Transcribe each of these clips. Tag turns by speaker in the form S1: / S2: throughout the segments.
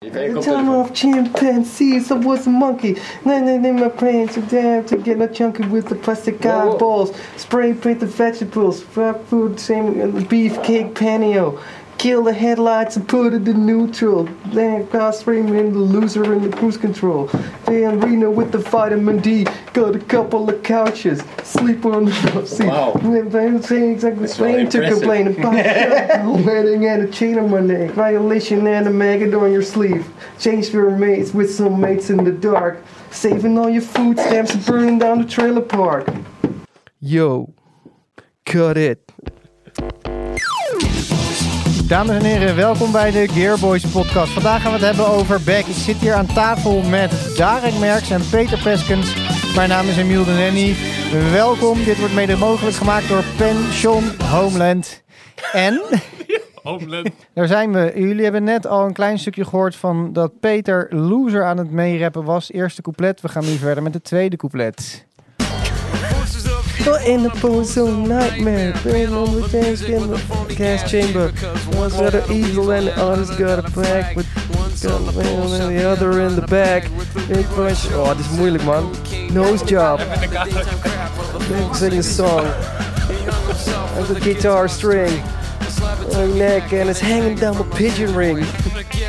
S1: The time off chimpanzees, I was a monkey. Then they in my plans to damn to get a chunky with the plastic
S2: Whoa, whoa.
S1: eyeballs. Spray paint the vegetables, fried food, same in the beefcake panio. Kill the headlights and put it in neutral. Then cross streaming the loser in the cruise control. Then Reno with the vitamin D. Got a couple of couches. Sleep on the seat.
S2: Wow.
S1: Then they say exactly the
S2: That's really
S1: same to
S2: impressive.
S1: complain about. Wedding and a chain on my neck. Violation and a maggot on your sleeve. Change your mates with some mates in the dark. Saving all your food stamps and burning down the trailer park. Yo, cut it.
S3: Dames en heren, welkom bij de Gearboys podcast. Vandaag gaan we het hebben over back. Ik zit hier aan tafel met Darek Merks en Peter Peskens. Mijn naam is Emiel de Nenny. Welkom, dit wordt mede mogelijk gemaakt door Pension Homeland. En,
S4: Homeland.
S3: daar zijn we. Jullie hebben net al een klein stukje gehoord van dat Peter loser aan het meerappen was. Eerste couplet, we gaan nu verder met het tweede couplet.
S1: You're in a bozo nightmare. Brain on the dance in the gas chamber. One's got an eagle and the other's got a pack. With got a whale and the other in the back. Big bunch. Oh, dit is moeilijk man. Nose job. Big singing song. There's a guitar string. My neck and it's hanging down my pigeon ring.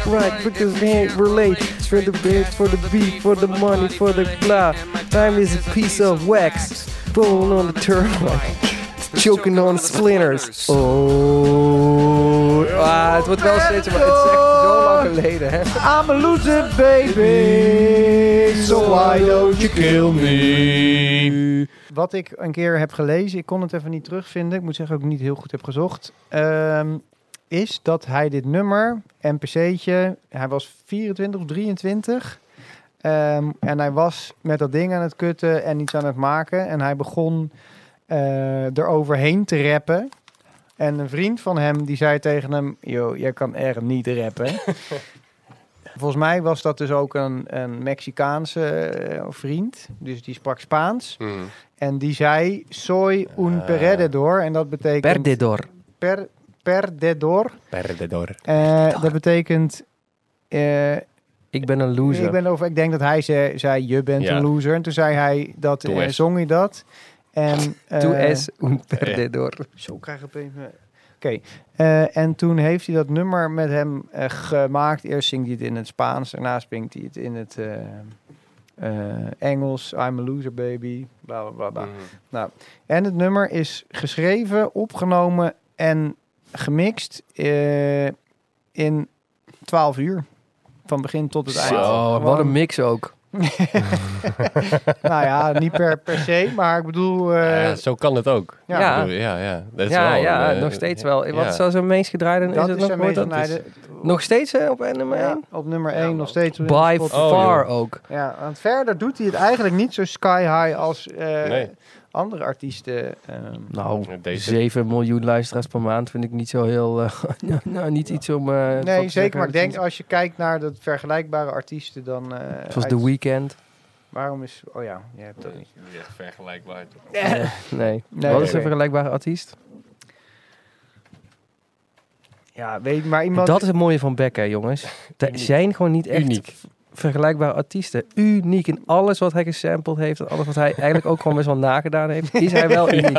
S1: Right, because we ain't relate. For the bit, for the beat, for the money, for the blah. Time is a piece of wax. Rolling on the turnpike. Choking on splinters. Oh. Ah, het wordt wel steeds, maar het is echt zo lang geleden, hè?
S3: I'm a loser baby, so why don't you kill me? Wat ik een keer heb gelezen, ik kon het even niet terugvinden. Ik moet zeggen ook niet heel goed heb gezocht. ehm, is dat hij dit nummer, NPC'tje, hij was 24 of 23. ehm, en hij was met dat ding aan het kutten en iets aan het maken. En hij begon eh eroverheen te rappen. En een vriend van hem die zei tegen hem: Yo, jij kan er niet rappen. Volgens mij was dat dus ook een, een Mexicaanse eh, vriend. Dus die sprak Spaans. En die zei: Soy un
S2: Ah.
S3: perdedor. En dat betekent.
S1: Perdedor.
S3: Per, perdedor.
S2: Perdedor.
S3: Eh, dat betekent. eh,
S1: Ik ben een
S3: ik, ben over, ik denk dat hij zei, zei je bent
S2: Ja.
S3: een loser. En toen zei hij dat,
S2: Doe
S3: eh,
S2: eens.
S3: zong hij dat. En, eh,
S1: un
S2: perdedor.
S3: Zo krijg ik opeens... mijn- Oké, eh, en toen heeft hij dat nummer met hem eh, gemaakt. Eerst zingt hij het in het Spaans, daarna zingt hij het in het eh, eh, Engels. I'm a loser baby, bla bla bla. bla. En het nummer is geschreven, opgenomen en gemixt eh, in 12 uur. Van begin tot het eind.
S2: Zo,
S3: Gewoon-
S5: Wat een mix ook.
S3: Nou ja, niet per, per se, maar ik bedoel... eh,
S2: ja, zo kan het ook.
S3: ja,
S2: Ik
S5: ja,
S2: bedoel, ja, ja. Dat is
S5: ja,
S2: wel,
S5: ja
S2: eh,
S5: nog steeds wel.
S2: ja.
S5: Wat is zo'n meest gedraaid en is
S3: dat
S5: het
S3: is
S5: nog
S3: zijn
S5: nooit
S3: meest
S5: dat?
S3: genaaide-
S5: Nog steeds hè, op nummer
S3: Ja,
S5: 1?
S3: op nummer 1 nog steeds. op
S5: By
S3: Spotify.
S2: Oh,
S5: far ook.
S3: Ja, want verder doet hij het eigenlijk niet zo sky high als eh,
S2: Nee.
S3: andere artiesten. ehm.
S5: Nou,
S2: Deze.
S5: 7 miljoen luisteraars per maand vind ik niet zo heel... eh, nou, nou, niet iets om... eh, van te
S3: nee, zeker.
S5: zeggen.
S3: Maar ik denk als je kijkt naar dat vergelijkbare artiesten, dan. eh,
S5: Zoals
S3: uit-
S5: The Weeknd.
S3: Waarom is. Oh ja, je hebt dat niet.
S2: Niet echt vergelijkbaar.
S5: Nee.
S3: Nee,
S5: Wat is
S3: oké.
S5: een vergelijkbare artiest?
S3: Ja, weet maar iemand.
S5: Dat is het mooie van Beck, hè, jongens. Er
S2: Uniek.
S5: zijn gewoon niet echt
S2: Uniek.
S5: vergelijkbare artiesten. Uniek in alles wat hij gesampled heeft en alles wat hij eigenlijk ook gewoon best wel nagedaan heeft, is hij wel uniek.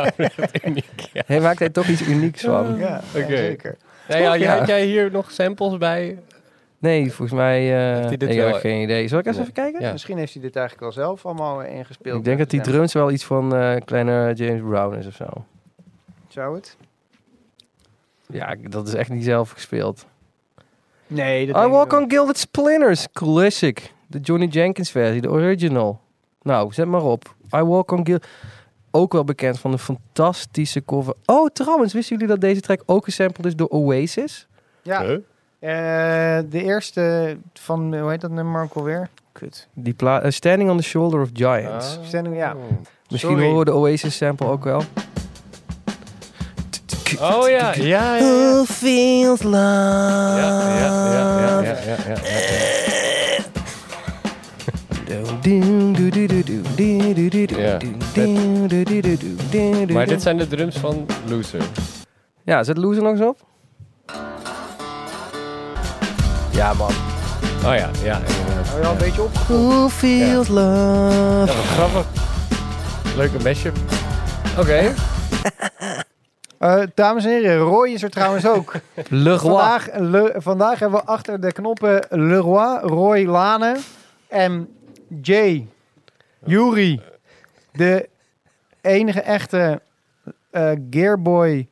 S5: Hij maakt hij toch iets unieks van.
S3: Ja, ja,
S2: Oké.
S3: zeker.
S2: Nee, ja,
S5: Ja.
S2: Had jij hier nog samples bij?
S5: Nee, volgens mij. eh,
S2: Heeft hij dit
S5: ik heb
S2: wel-
S5: geen idee. Zal ik eens
S2: Nee.
S5: even kijken?
S2: Ja.
S3: Misschien heeft hij dit eigenlijk wel zelf allemaal eh, ingespeeld.
S5: Ik denk dat die
S3: Ja,
S5: drums wel iets van eh, kleine James Brown is of zo.
S3: Zou het?
S5: Ja, ik- dat is echt niet zelf gespeeld.
S3: Nee, dat
S5: I
S3: denk ik
S5: Walk
S3: wel.
S5: on Gilded Splinters. Classic. De Johnny Jenkins versie, de original. Nou, zet maar op. I Walk on Gilded. Ook wel bekend van een fantastische cover. Oh, trouwens, wisten jullie dat deze track ook gesampled is door Oasis?
S3: Ja,
S2: Huh?
S3: eh, de eerste van. Hoe heet dat nummer ook alweer? Kut.
S5: Die pla- eh, Standing on the Shoulder of Giants.
S2: Ah.
S3: Stelling, ja.
S5: Misschien
S3: sorry.
S5: horen we de Oasis sample ook wel.
S2: Oh ja, ja, ja. ja.
S5: Who feels love?
S2: Ja, ja, ja, ja, ja, ja, ja, ja. Ja. Maar dit zijn de drums van Loser. Oh
S5: Ja, zet Loser nog eens op. Ja, man.
S2: Oh ja, ja. inderdaad.
S3: Nou ja, een beetje op.
S1: Who feels
S2: Ja,
S1: love?
S2: wat grappig. Leuke mashup.
S5: Oké.
S3: Eh, dames en heren, Roy is er trouwens ook.
S5: Le Roi.
S3: vandaag, Le- vandaag hebben we achter de knoppen Leroy, Roy Lane en Jay, Yuri, de enige echte eh, Gearboy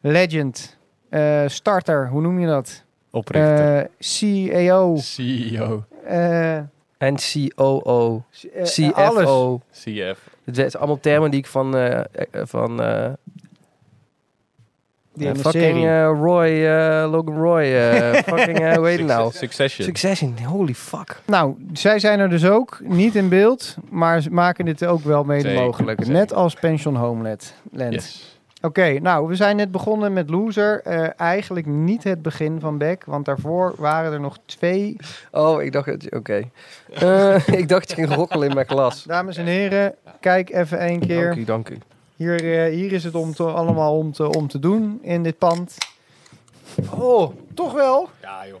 S3: legend, eh, starter, hoe noem je dat?
S2: Oprichter.
S3: Eh, CEO,
S2: CEO.
S3: eh, eh,
S5: En COO.
S3: eh, alles.
S5: CFO.
S2: CF.
S5: Het zijn allemaal termen die ik van, eh, eh, van eh,
S3: Die
S5: eh,
S3: in de
S5: fucking
S3: serie.
S5: eh, Roy, eh, Logan Roy, eh, fucking, eh, hoe heet het nou?
S2: Succession.
S5: Succession, holy fuck.
S3: Nou, zij zijn er dus ook, niet in beeld, maar ze maken dit ook wel mede
S2: Zeker,
S3: mogelijk.
S2: zeker.
S3: Net als Pension Homeland. Land.
S2: Yes.
S3: Oké, nou, we zijn net begonnen met Loser. Eh, eigenlijk niet het begin van Beck, want daarvoor waren er nog twee.
S5: Oh, ik dacht, dat je- oké. Eh, ik dacht, je ging rokkelen in mijn glas.
S3: Dames en heren, kijk even één
S5: Dank
S3: keer.
S5: u, dank u.
S3: Hier, eh, hier is het om te, allemaal om te, om te doen in dit pand. Oh, toch wel?
S2: Ja, joh.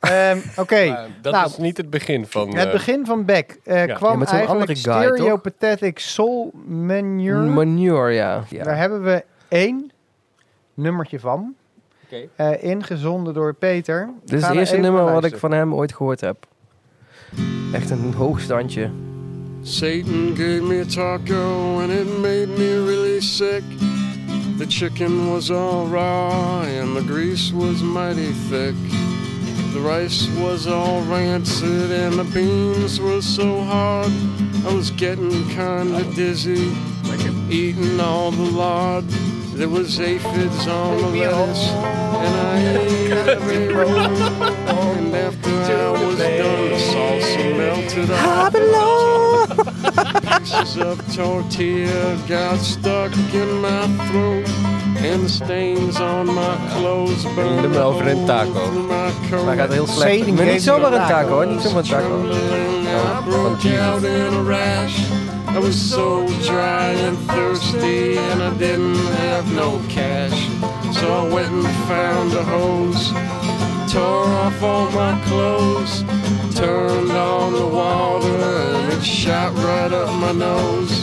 S3: Ehm, Oké,
S2: Maar Eh, dat
S3: nou,
S2: is niet het begin van...
S3: het
S2: eh,
S3: begin van Beck eh,
S2: Ja.
S5: Ja,
S3: kwam
S5: met zo'n
S3: eigenlijk
S5: andere guy, toch?
S3: Stereopathetic Soul Manure.
S5: Manure, ja.
S3: Daar
S5: ja.
S3: hebben we één nummertje van.
S2: Oké.
S3: Eh, ingezonden door Peter. We
S5: Dit
S3: gaan
S5: is het
S3: er
S5: eerste
S3: even
S5: nummer
S3: naar
S5: wat ik
S3: luisteren.
S5: van hem ooit gehoord heb. Echt een hoogstandje.
S4: Satan gave me a taco and it made me really sick. The chicken was all raw and the grease was mighty thick. The rice was all rancid and the beans were so hard. I was getting kinda dizzy, like I'm eating all the lard. There was aphids on the lettuce, and I ate every roll. And after I was done, the salsa melted off. Pieces of tortilla got stuck in my throat, and the stains on my clothes burned.
S2: nummer over een taco.
S4: through my coat.
S5: Maar hij gaat heel slecht.
S3: Shading
S5: Maar niet
S3: geeft
S5: zomaar een
S3: een
S5: taco, hoor. Niet zomaar een taco.
S4: Trembling, I broke out in a rash. I was so dry and thirsty, and I didn't have no cash. So I went and found a hose, tore off all my clothes, turned on the water, and it shot right up my nose.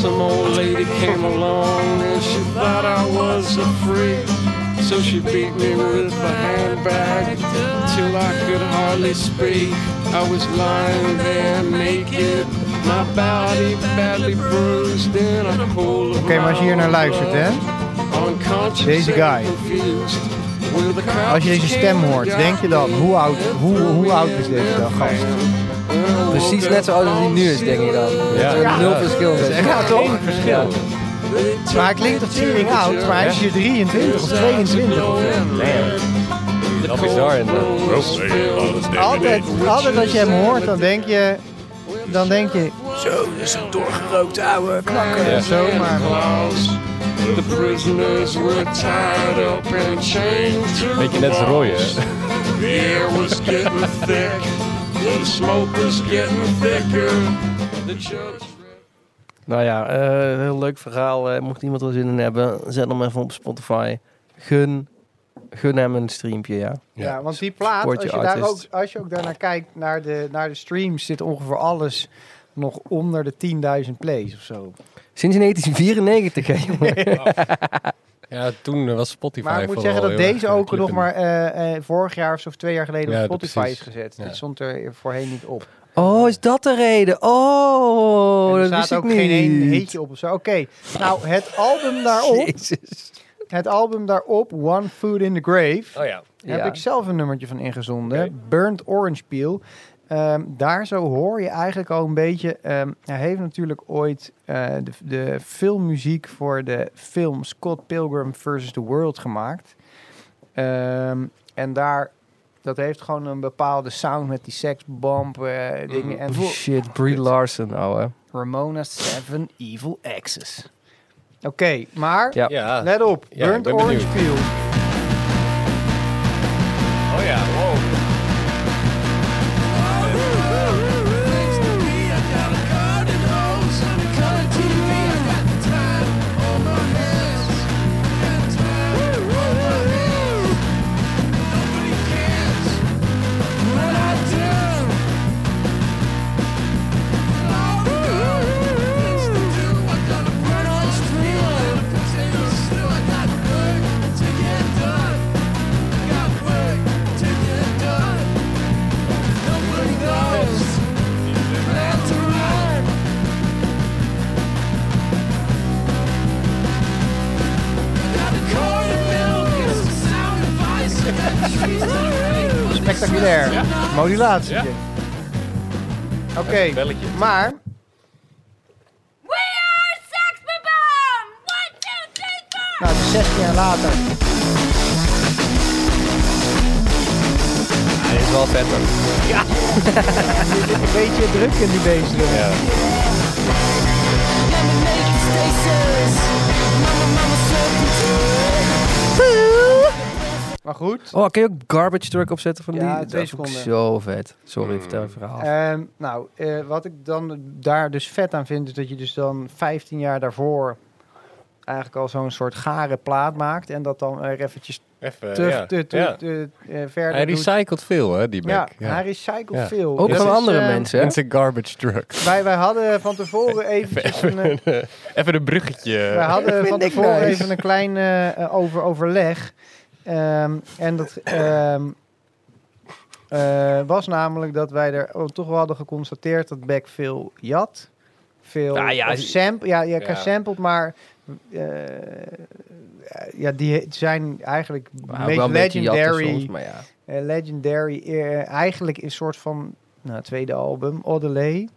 S4: Some old lady came along and she thought I was a freak. So she beat me with a handbag till I could hardly speak. I was lying there naked, my body badly bruised in a pool of
S3: Oké, maar als je hier naar
S4: my own
S3: luistert, hè.
S4: blood. Unconscious
S3: Deze
S4: and
S3: guy.
S4: confused. With the crowd
S3: Als je deze stem hoort, denk je dan, hoe oud, hoe, hoe oud is deze dan, gast?
S5: Precies net zo oud als hij nu is, denk ik dan.
S2: Ja.
S5: Ja. Nul verschil.
S3: Ja, toch?
S5: verschil.
S3: Maar hij klinkt als tering oud, maar hij is hier 23 of 22 of zo.
S2: Dat bizar. inderdaad.
S3: Altijd, altijd als je hem hoort, dan denk je... Dan denk
S2: Ja.
S3: je... Zo, "Oh, maar...
S4: The prisoners were tied up and chained to the
S2: Beetje net als Roy, hè?
S4: walls. The air was getting thick. The smoke was getting thicker. The judge...
S5: Nou ja, eh, heel leuk verhaal. Eh, mocht iemand er zin in hebben, zet hem even op Spotify. Gun, gun hem een streampje, ja.
S3: Ja, want die plaat, als
S5: Support
S3: je,
S5: your
S3: daar ook,
S5: artist.
S3: als je ook daarnaar kijkt, naar de, naar de streams, zit ongeveer alles nog onder de 10.000 plays of zo.
S5: Sinds 1994, hè, jongen.
S2: Ja, toen eh, was Spotify
S3: Maar ik moet
S2: vooral
S3: zeggen dat
S2: heel
S3: deze
S2: erg, eh,
S3: ook nog
S2: klikken.
S3: maar eh, eh, vorig jaar of zo, of twee jaar geleden
S2: Ja,
S3: op Spotify
S2: precies.
S3: is gezet.
S2: Ja.
S3: Dit stond er voorheen niet op.
S5: Oh, is dat de reden? Oh,
S3: En er
S5: dat
S3: staat
S5: wist
S3: ook
S5: ik niet.
S3: geen één heetje op of zo. Oké, nou het album daarop,
S5: Jezus.
S3: het album daarop, One Food in the Grave,
S2: Oh ja.
S3: heb
S5: Ja.
S3: ik zelf een nummertje van ingezonden. Burnt Orange Peel. Ehm, daar zo hoor je eigenlijk al een beetje. ehm, hij heeft natuurlijk ooit eh, de, de filmmuziek voor de film Scott Pilgrim vs. The World gemaakt. Ehm, en daar, dat heeft gewoon een bepaalde sound met die seksbomb eh, dingen. En
S5: Oh, shit, Brie Larson, ouwe.
S3: Ramona Seven Evil Axes. Oké, maar
S5: Ja.
S2: Ja.
S3: let op.
S2: Ja, ik
S3: Burnt
S2: ben
S3: Orange Peel.
S2: Oh ja, wow.
S3: Spectaculair.
S2: Ja.
S3: Modulatie.
S2: Ja.
S3: Oké,
S2: Een belletje.
S3: maar
S6: We are Sex Bomb! One, two, three, four!
S3: nou, 16 jaar later.
S5: Hij is wel vet hoor.
S3: Een beetje druk in die beesten.
S2: Ja.
S3: Maar goed.
S5: Oh, kun je ook Garbage Truck opzetten van
S3: Ja,
S5: die?
S3: twee
S5: Dat is ook
S3: seconden.
S5: zo vet. Sorry, vertel je verhaal.
S2: Oh.
S3: Ehm, nou, eh, wat ik dan daar dus vet aan vind, is dat je dus dan 15 jaar daarvoor eigenlijk al zo'n soort gare plaat maakt. En dat dan er eventjes
S2: Even,
S3: te,
S2: Eh, ja.
S3: te, te-
S2: Ja.
S3: te- eh, verder
S2: Hij
S3: doet.
S2: recycelt veel, hè, die
S3: Ja,
S2: Mac. Ja.
S3: hij recycelt
S2: Ja.
S3: veel.
S5: ook
S3: Dus
S5: van
S3: het is,
S5: andere
S3: eh,
S5: mensen. hè?
S2: En zijn garbage truck.
S3: Wij, wij hadden van tevoren eventjes een, eh,
S2: Even een bruggetje.
S3: wij hadden van
S5: eh, ik
S3: tevoren
S5: nice.
S3: even een klein eh, eh, over, overleg. Ehm, en dat ehm, eh, was namelijk dat wij er oh, toch wel hadden geconstateerd dat Beck veel jat. Veel
S5: Ah, ja,
S3: of
S5: die-
S3: sample, ja, ja,
S2: Ja.
S3: gesampled, maar eh, ja, die zijn eigenlijk
S5: Maar ook
S3: meest
S5: wel een beetje jatten
S3: legendary.
S5: soms, maar ja.
S3: Eh, Legendary, eh, eigenlijk is een soort van nou, tweede album, Odelay.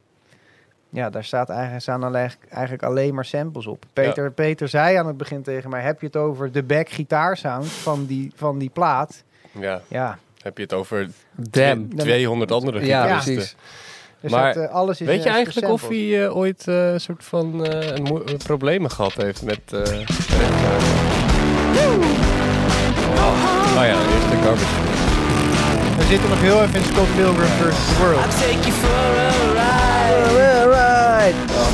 S3: Ja, daar staat eigenlijk, staan alle- eigenlijk alleen maar samples op. Peter, Peter zei aan het begin tegen mij, heb je het over de back gitaarsound van die, van die plaat?
S2: Ja,
S3: Ja,
S2: heb je het over
S5: Damn.
S2: tw- 200 andere
S5: Ja,
S2: gitaristen.
S5: precies.
S3: dus
S2: Maar
S3: dat, eh, alles is
S2: Weet je
S3: is
S2: eigenlijk of hij
S3: gesampled.
S2: eh, ooit eh, een soort van eh, een mo- eh, problemen gehad heeft met... eh, rechtszaken? oh ja, eerst de garbage truck.
S3: We zitten nog heel even in Scott Pilgrim vs. The World.
S4: Take you for a ride.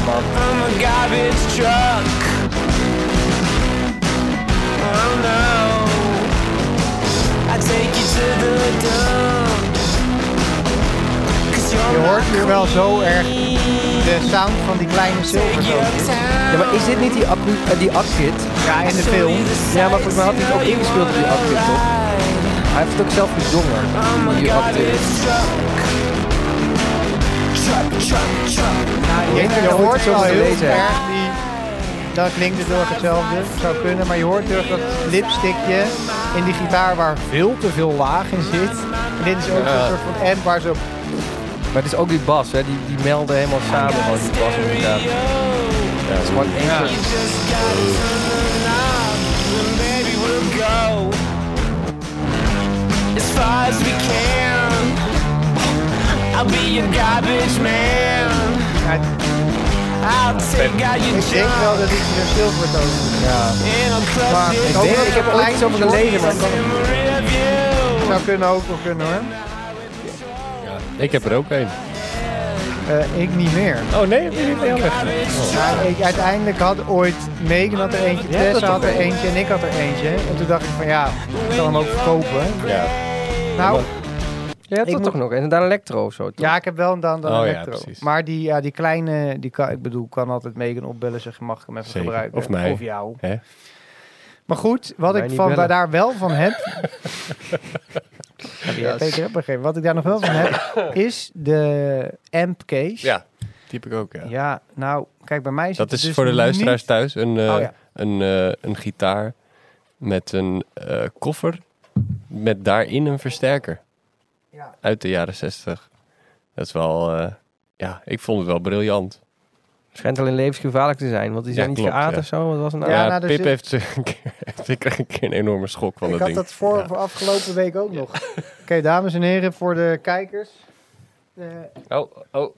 S4: I'm a garbage truck. Oh no. I take you to the dump. Cause you're
S3: Je
S4: my
S3: hoort hier wel zo erg de sound van die kleine
S4: take you
S3: zilverzoon.
S5: Ja,
S4: uptown.
S5: maar is dit niet die accu, eh, die akkit?
S3: Ja, in de film.
S5: Ja, maar volgens mij had hij het ook ingespeeld op die akkit, toch? Hij heeft het ook zelf gezongen. Die akkit.
S3: Je,
S5: Ja,
S3: je
S5: dat moet
S3: hoort
S5: ik zo
S3: wel heel
S5: lezen.
S3: erg die... Dat klinkt het heel erg hetzelfde, zou kunnen. Maar je hoort heel erg dat lipstickje in die gitaar waar veel te veel laag in zit. En dit is ook
S2: Ja.
S3: een soort van amp waar ze op...
S5: Maar het is ook die bas, hè? Die, die melden helemaal samen gewoon die bas met elkaar. Ja, het is gewoon één soort-
S4: As far as we can, I'll be your garbage man.
S3: Ja,
S4: I'll take out your
S3: ik denk wel
S4: junk
S3: dat ik weer zilver toon. Ja.
S4: and I'll
S3: Maar
S4: crush
S3: ik
S4: it
S3: denk dat
S5: Ik heb er ooit iets over gelezen, maar ik kan-
S4: in review.
S3: zou kunnen ook wel kunnen hoor.
S2: Ik heb er ook één.
S3: Eh, ik niet meer.
S2: Oh nee, heb je niet meer weg?
S3: Maar ik uiteindelijk had ooit Megan had er eentje, Tess had er eentje en ik had er eentje. En toen dacht ik van ja, ik zal hem ook verkopen.
S2: Ja.
S3: Nou,
S5: Ja, dat
S3: Ik
S5: toch nog. En daar Electro of zo, toch?
S3: Ja, ik heb wel een dan dan
S2: Oh ja,
S3: Electro.
S2: precies.
S3: maar die, ja, die kleine, die kan, ik bedoel, kan altijd Megan opbellen zeggen, mag ik hem even
S2: Zeker.
S3: gebruiken?
S2: Of mij.
S3: jou.
S2: Hè?
S3: Maar goed, wat
S5: Mij
S3: ik
S5: niet
S3: van
S5: bellen.
S3: daar wel van heb... ja, Peter heb begrepen. Wat ik daar nog wel van heb, is de amp case.
S2: Ja, die heb ik ook, ja.
S3: Ja, nou, kijk, bij mij zit
S2: Dat
S3: het
S2: is
S3: dus
S2: voor de luisteraars thuis een, eh,
S3: niet- Oh ja,
S2: een, eh, een gitaar met een eh, koffer met daarin een versterker.
S3: Ja.
S2: Uit de jaren zestig. Dat is wel, eh, ja, ik vond het wel briljant.
S5: Schijnt alleen levensgevaarlijk te zijn, want die
S2: Ja,
S5: zijn niet
S2: klopt,
S5: geaard
S2: ja.
S5: of zo. Wat was het nou?
S3: Ja,
S2: Ja, dus
S3: nou, er
S2: Pip
S3: zit-
S2: heeft ze een keer, ik kreeg een keer een enorme schok van
S3: ik
S2: dat
S3: had
S2: ding.
S3: dat voor,
S2: Ja.
S3: voor afgelopen week ook nog. Oké, dames en heren, voor de kijkers. eh,
S2: Oh, oh.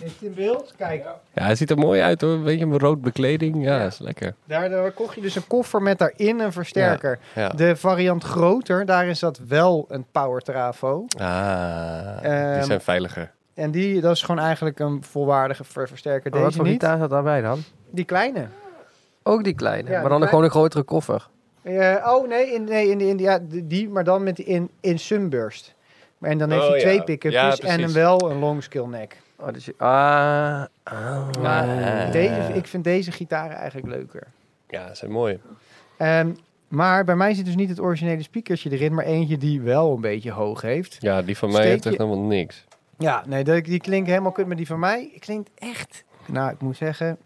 S3: is het in beeld? Kijk.
S2: Ja, hij ziet er mooi uit hoor. Een beetje een rood bekleding. Ja, is lekker.
S3: Daardoor kocht je dus een koffer met daarin een versterker.
S2: Ja.
S3: De variant groter, daar is dat wel een power trafo.
S2: Ah,
S3: Ehm,
S2: die zijn veiliger.
S3: En die, dat is gewoon eigenlijk een volwaardige ver- versterker.
S5: Oh, wat
S3: Deze
S5: voor
S3: niet.
S5: gitaar zat daarbij dan?
S3: Die kleine.
S5: Ook die kleine,
S3: Ja,
S5: maar
S3: die
S5: dan een-
S3: kleine.
S5: gewoon een grotere koffer.
S3: Eh, oh nee, in, nee in, in, ja, die, die, maar dan met die in, in Sunburst. Maar En dan heeft
S2: Oh,
S3: hij twee
S2: ja. Ja,
S3: pick-upjes en
S2: precies.
S3: een wel een long skill neck.
S5: Oh, dus je, ah, ah.
S3: Maar
S2: Ah.
S3: deze, ik vind deze gitaren eigenlijk leuker.
S2: Ja, ze zijn mooi.
S3: Ehm, maar bij mij zit dus niet het originele speakersje erin, maar eentje die wel een beetje hoog heeft.
S2: Ja, die van
S3: Steek
S2: mij heeft echt
S3: je-
S2: helemaal niks.
S3: Ja, nee, dat- die klinkt helemaal kut, maar die van mij klinkt echt... Nou, ik moet zeggen...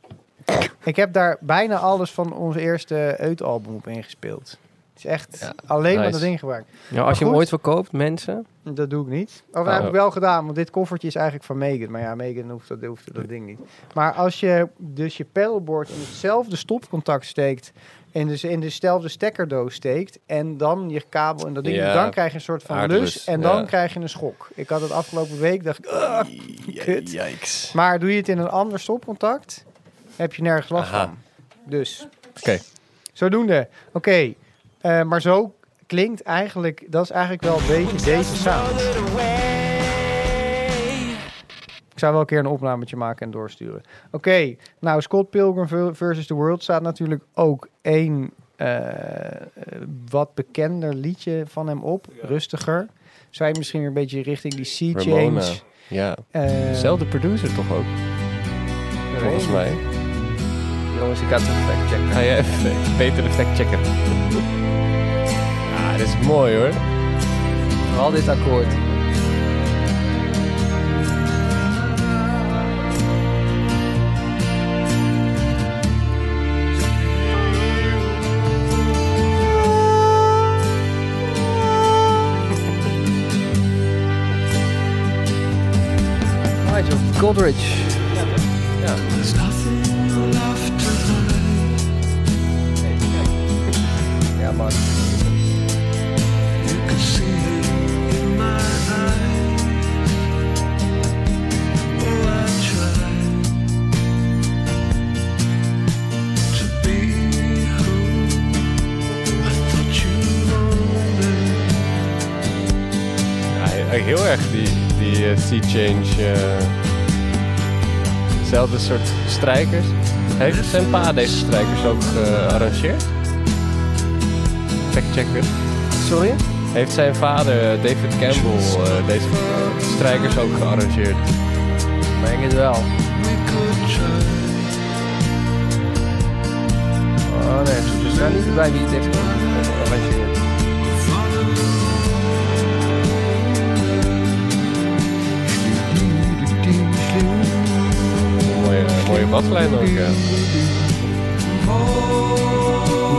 S3: Ik heb daar bijna alles van ons eerste Eut-album op ingespeeld. is echt
S2: Ja,
S3: alleen maar
S2: nice.
S3: dat ding gebruikt.
S5: Nou, als je hem
S3: goed.
S5: ooit verkoopt, mensen.
S3: Dat doe ik niet. Of nou,
S2: Ah.
S3: heb ik wel gedaan, want dit koffertje is eigenlijk van Megan. Maar ja, Megan hoeft dat, hoeft dat ding niet. Maar als je dus je paddleboard in hetzelfde stopcontact steekt... en dus in dezelfde stekkerdoos steekt... en dan je kabel en dat ding...
S2: Ja,
S3: dan krijg je een soort van
S2: aardlus,
S3: lus en dan
S2: ja.
S3: krijg je een schok. Ik had het afgelopen week, dacht ik...
S2: Ah,
S3: "Ugh." Kut.
S2: Yikes.
S3: Maar doe je het in een ander stopcontact... heb je nergens last
S2: Aha.
S3: van. Dus...
S2: Oké.
S3: Zodoende. Oké. Eh, maar zo klinkt eigenlijk... dat is eigenlijk wel een beetje deze sound. Ik zou wel een keer een opnametje maken en doorsturen. Oké, nou Scott Pilgrim v- versus The World staat natuurlijk ook één eh, eh, wat bekender liedje van hem op. Rustiger. Zou je misschien weer een beetje richting die Sea
S2: Ramona.
S3: Change...
S2: Ja.
S3: eh,
S2: Zelfde producer toch ook, volgens mij.
S5: Jongens, ik ga het even factchecken.
S2: Ga jij even eh, Peter de fact checken. Ah, dit is mooi hoor.
S5: Al dit akkoord. Nigel Godrich. Ja, man.
S2: Ja, he- heel erg die, die eh, sea change. eh, Zelfde soort strijkers. Heeft zijn pa deze strijkers ook gearrangeerd? Fact checker.
S5: Sorry?
S2: Heeft zijn vader eh, David Campbell eh, deze strijkers ook gearrangeerd?
S5: Ik denk het wel. Oh nee, we staan niet bij wie het heeft gearrangeerd.
S2: Mooie, mooie baslijn ook. ja.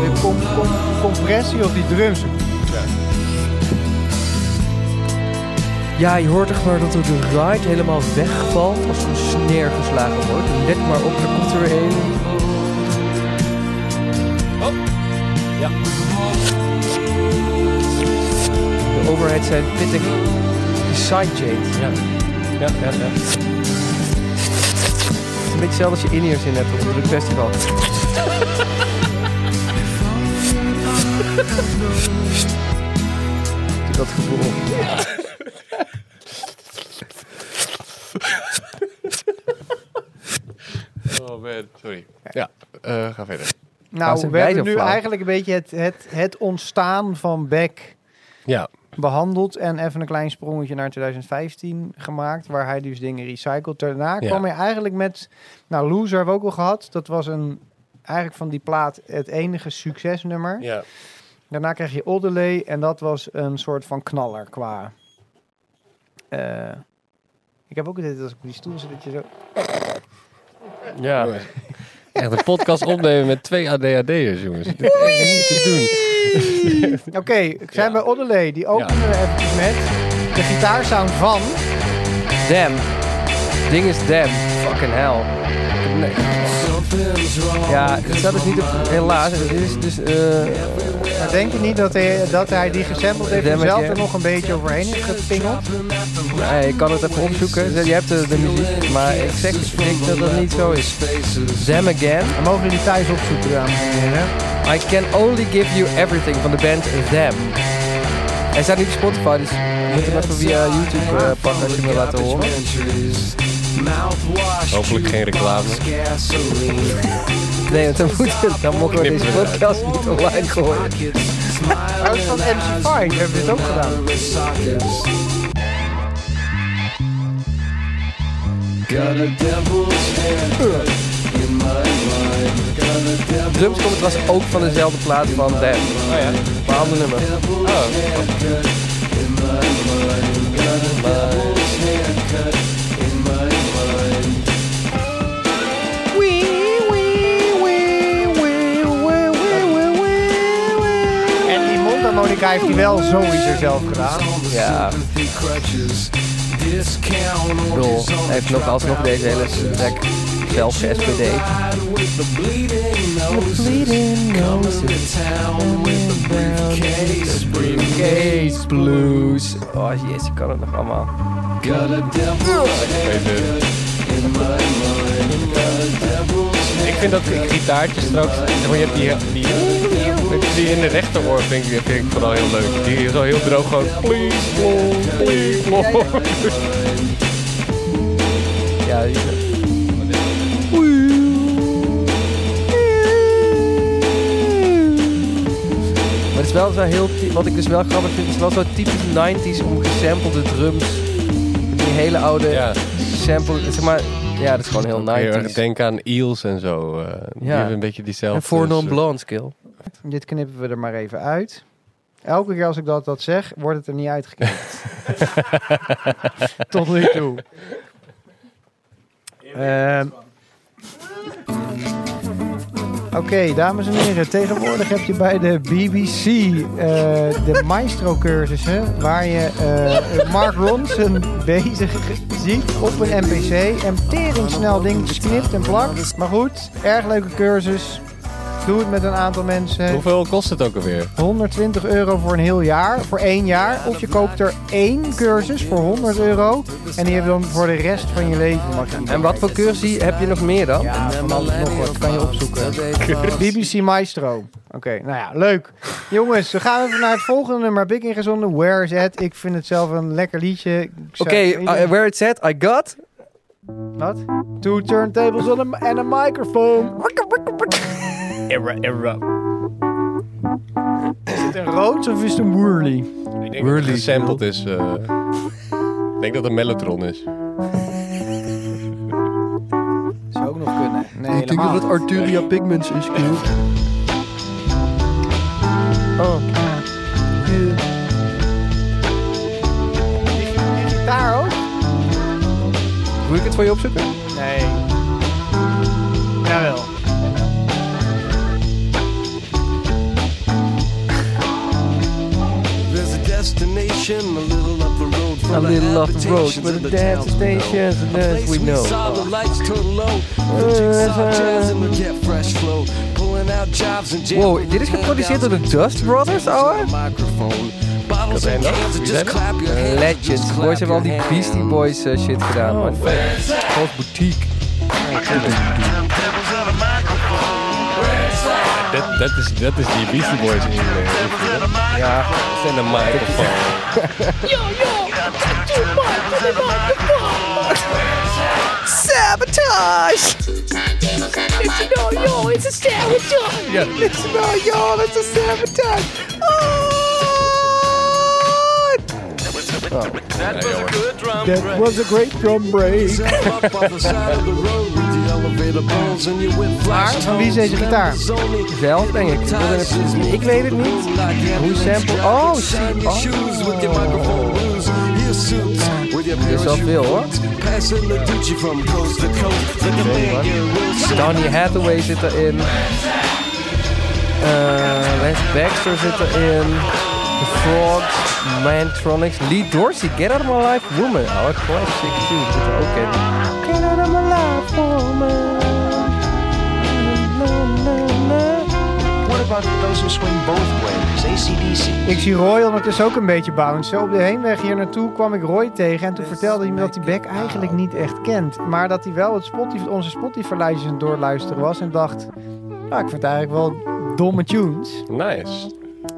S3: De com- com- compressie op die drums.
S5: Ja, je hoort echt maar dat er de ride helemaal wegvalt als een sneer geslagen wordt. En let maar op, er komt er weer een.
S2: Ja.
S5: De overheid zijn pittig. Die sidechains.
S2: Ja. Ja, ja, ja.
S5: Het is een beetje hetzelfde als je in-ears in hebt op een festival. Doe dat gevoel.
S2: Oh man, sorry. Ja, eh, ga verder.
S5: Waar
S3: Nou,
S5: zijn
S3: we
S5: wij
S3: hebben
S5: zo
S3: nu
S5: flauw?
S3: eigenlijk een beetje het, het, het ontstaan van Beck
S2: Ja,
S3: behandeld. En even een klein sprongetje naar 2015 gemaakt, waar hij dus dingen recycled. Daarna
S2: Ja.
S3: kwam hij eigenlijk met, nou Loser hebben we ook al gehad. Dat was een, eigenlijk van die plaat het enige succesnummer.
S2: ja.
S3: Daarna kreeg je Oddeley en dat was een soort van knaller qua... eh, ik heb ook het idee dat als ik op die stoel zit, dat je zo...
S2: Ja. Echt een podcast opnemen met twee ADHD'ers, jongens. Dit is echt niet te doen.
S3: Oké, ik
S2: Ja.
S3: zijn bij Oddeley. Die openen we eventjes met de gitaarsound van...
S5: Damn. Ding is damn. Fucking hell. Nee. Ja, dat is niet op, helaas. Dit is dus eh,
S3: Maar Nou, denk je niet dat hij, dat hij die gesampled heeft en
S5: Demmetje.
S3: zelf er nog een beetje overheen heeft gepingeld?
S5: Nee, ik kan het even opzoeken. Je hebt de, de muziek, maar ik zeg ik denk dat dat niet zo is. Them Again.
S3: Dan mogen jullie thuis opzoeken, dames en heren.
S5: I Can Only Give You Everything van de band Them. Hij staat niet op Spotify, dus je moet hem even via YouTube eh, pakken als je me laat horen.
S2: Hopelijk geen reclame.
S5: Nee, want dan, moet het, dan mogen we deze podcast niet online gooien.
S3: Trouwens, van MC5 hebben we dit ook gedaan.
S5: De drums komen trouwens ook van dezelfde plaat van Them. Oh ja. Maar ander nummer.
S3: En die Monica heeft hij wel sowieso zelf gedaan.
S5: Ja. Ik bedoel, hij heeft nog alsnog deze hele track zelf SPD. Case Blues. Oh jezus, ik kan het nog allemaal.
S2: Ik vind dat die gitaartje straks. zeg maar, Je hebt die, die, die in de rechteroor vind ik, die vind ik vooral heel leuk. Die is al heel droog gewoon. Please, Lord, please, Lord.
S5: Ja, die- Maar het is wel zo heel, ty- wat ik dus wel grappig vind, is wel zo typisch 90s om gesampelde drums. Met Die hele oude
S2: Ja,
S5: sample, zeg maar, ja, dat is gewoon heel
S2: heel erg
S5: 90s.
S2: denk aan Eels en zo. eh, Die
S5: Ja.
S2: hebben een beetje diezelfde.
S5: En voor non
S2: soort-
S5: blonde skill.
S3: Dit knippen we er maar even uit. Elke keer als ik dat, dat zeg, wordt het er niet uitgeknipt. Tot nu toe. Ehm. Oké, dames en heren. Tegenwoordig heb je bij de BBC eh, de maestro-cursussen... waar je eh, Mark Ronson bezig ziet op een NPC... en tering snel dingetjes knipt en plakt. Maar goed, erg leuke cursus. Doe het met een aantal mensen.
S2: Hoeveel kost het ook alweer?
S3: 120 euro voor een heel jaar, voor één jaar. Of je koopt er één cursus voor 100 euro. En die heb je dan voor de rest van je leven. Mag je
S5: En wat voor cursie heb je nog meer dan?
S3: Ja, van alles nog wat. Kan je opzoeken. BBC Maestro. Oké, nou ja, leuk. Jongens, dan gaan we even naar het volgende nummer. Heb ik ingezonden. Where is it? Ik vind het zelf een lekker liedje. Ik zou-
S5: Oké, uh, where it's at, I got.
S3: Wat? Two turntables on a- en een microphone.
S2: Era, era.
S3: Is het een rood of is het een Whirly?
S2: Ik denk dat het gesampled is. eh, Ik denk dat het een mellotron is.
S3: Zou ook nog kunnen. Nee, helemaal. niet.
S5: Arturia Pigments is, Oh,
S3: Die gitaar ook?
S5: moet ik het voor je opzoeken?
S3: Nee. Jawel.
S4: There's a destination a little up the road from
S5: A
S4: the
S5: little off the road,
S4: habitations
S5: but
S4: of
S5: the
S4: the
S5: dance
S4: towns we know.
S5: stations, and as we
S4: Place
S5: know.
S4: saw the lights turn low. The
S5: Uh,
S4: jigsaw jazz
S5: uh,
S4: and we get fresh flow. Pulling out jobs and jam-
S5: Wow, dit is geproduceerd door de Dust Brothers, ouwe?
S4: Microphone. Bottles
S2: zijn
S4: and
S2: dat?
S4: cans,
S2: Wie
S4: just
S2: zijn dat?
S4: clap your hands, just
S5: Legends.
S4: clap
S5: Boys hebben al die
S4: your
S5: Beastie
S4: hands.
S5: Boys eh, shit gedaan,
S2: Oh.
S5: man. Groot boutique.
S2: Dat, dat, is, dat is die Beastie Boys. in, eh,
S5: Ja.
S2: Dat zijn de microfoon.
S5: Sabotage! It's no yo, it's a sabotage!
S2: Ja.
S5: It's no yo, it's a sabotage!
S1: Ah!
S5: Oh!
S4: That was a good drum break.
S3: was a great drum break.
S4: Zelf up on the side of the road with the elevator bones and you with
S3: Maar,
S4: flash
S3: van wie is deze
S4: tones.
S3: gitaar?
S4: Only
S5: Zelf denk ik. Ik wil het- Ik weet het niet. Hoe sample- oh, shit. Oh.
S4: Dit
S5: is wel veel, hoor. Donny Hathaway zit erin. Eh Les Baxter zit erin. The Frogs, Mantronics, Lee Dorsey, Get Out of My Life Woman. Oh, wat classic tune zit er ook in. Get Out of My Life Woman. Na, na, na.
S7: What about those who swing both ways? ACDC.
S3: Ik zie Roy ondertussen ook een beetje bouncen. Op de heenweg hier naartoe kwam ik Roy tegen en toen vertelde hij me dat hij Beck eigenlijk niet echt kent. Maar dat hij wel het Spotify, onze Spotify-lijstjes aan het doorluisteren was en dacht, nou ik vind het eigenlijk wel domme tunes.
S2: Nice.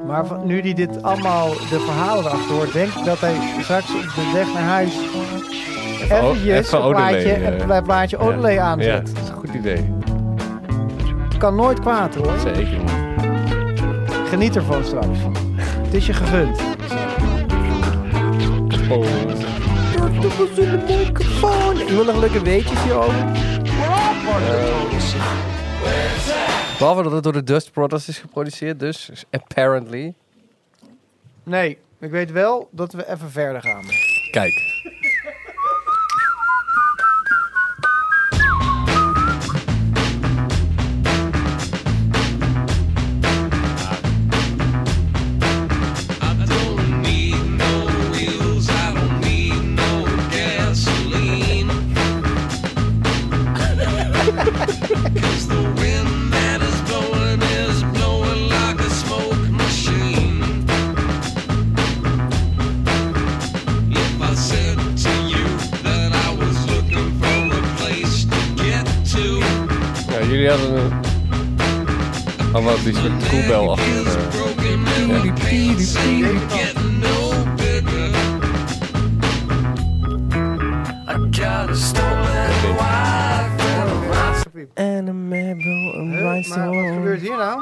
S3: Maar van- nu hij dit allemaal, de verhalen erachter hoort, denk ik dat hij straks op de weg naar huis
S2: o-
S3: eventjes
S2: Oh, even
S3: een plaatje,
S2: Odelay, eh.
S3: een pla- plaatje Odelay
S2: Ja,
S3: aanzet.
S2: dat is een goed idee.
S3: Kan nooit kwaad hoor.
S2: Zeker niet.
S3: Geniet ervan straks. Het is je gegund.
S5: Ik wil nog leuke weetjes hierover. Eh, Behalve dat het door de Dust Brothers is geproduceerd, dus apparently.
S3: Nee, ik weet wel dat we even verder gaan.
S2: Kijk. die hadden een... Oh, wat, die soort koebel achter. eh,
S5: En een meubel, een
S3: Maar wat gebeurt hier nou?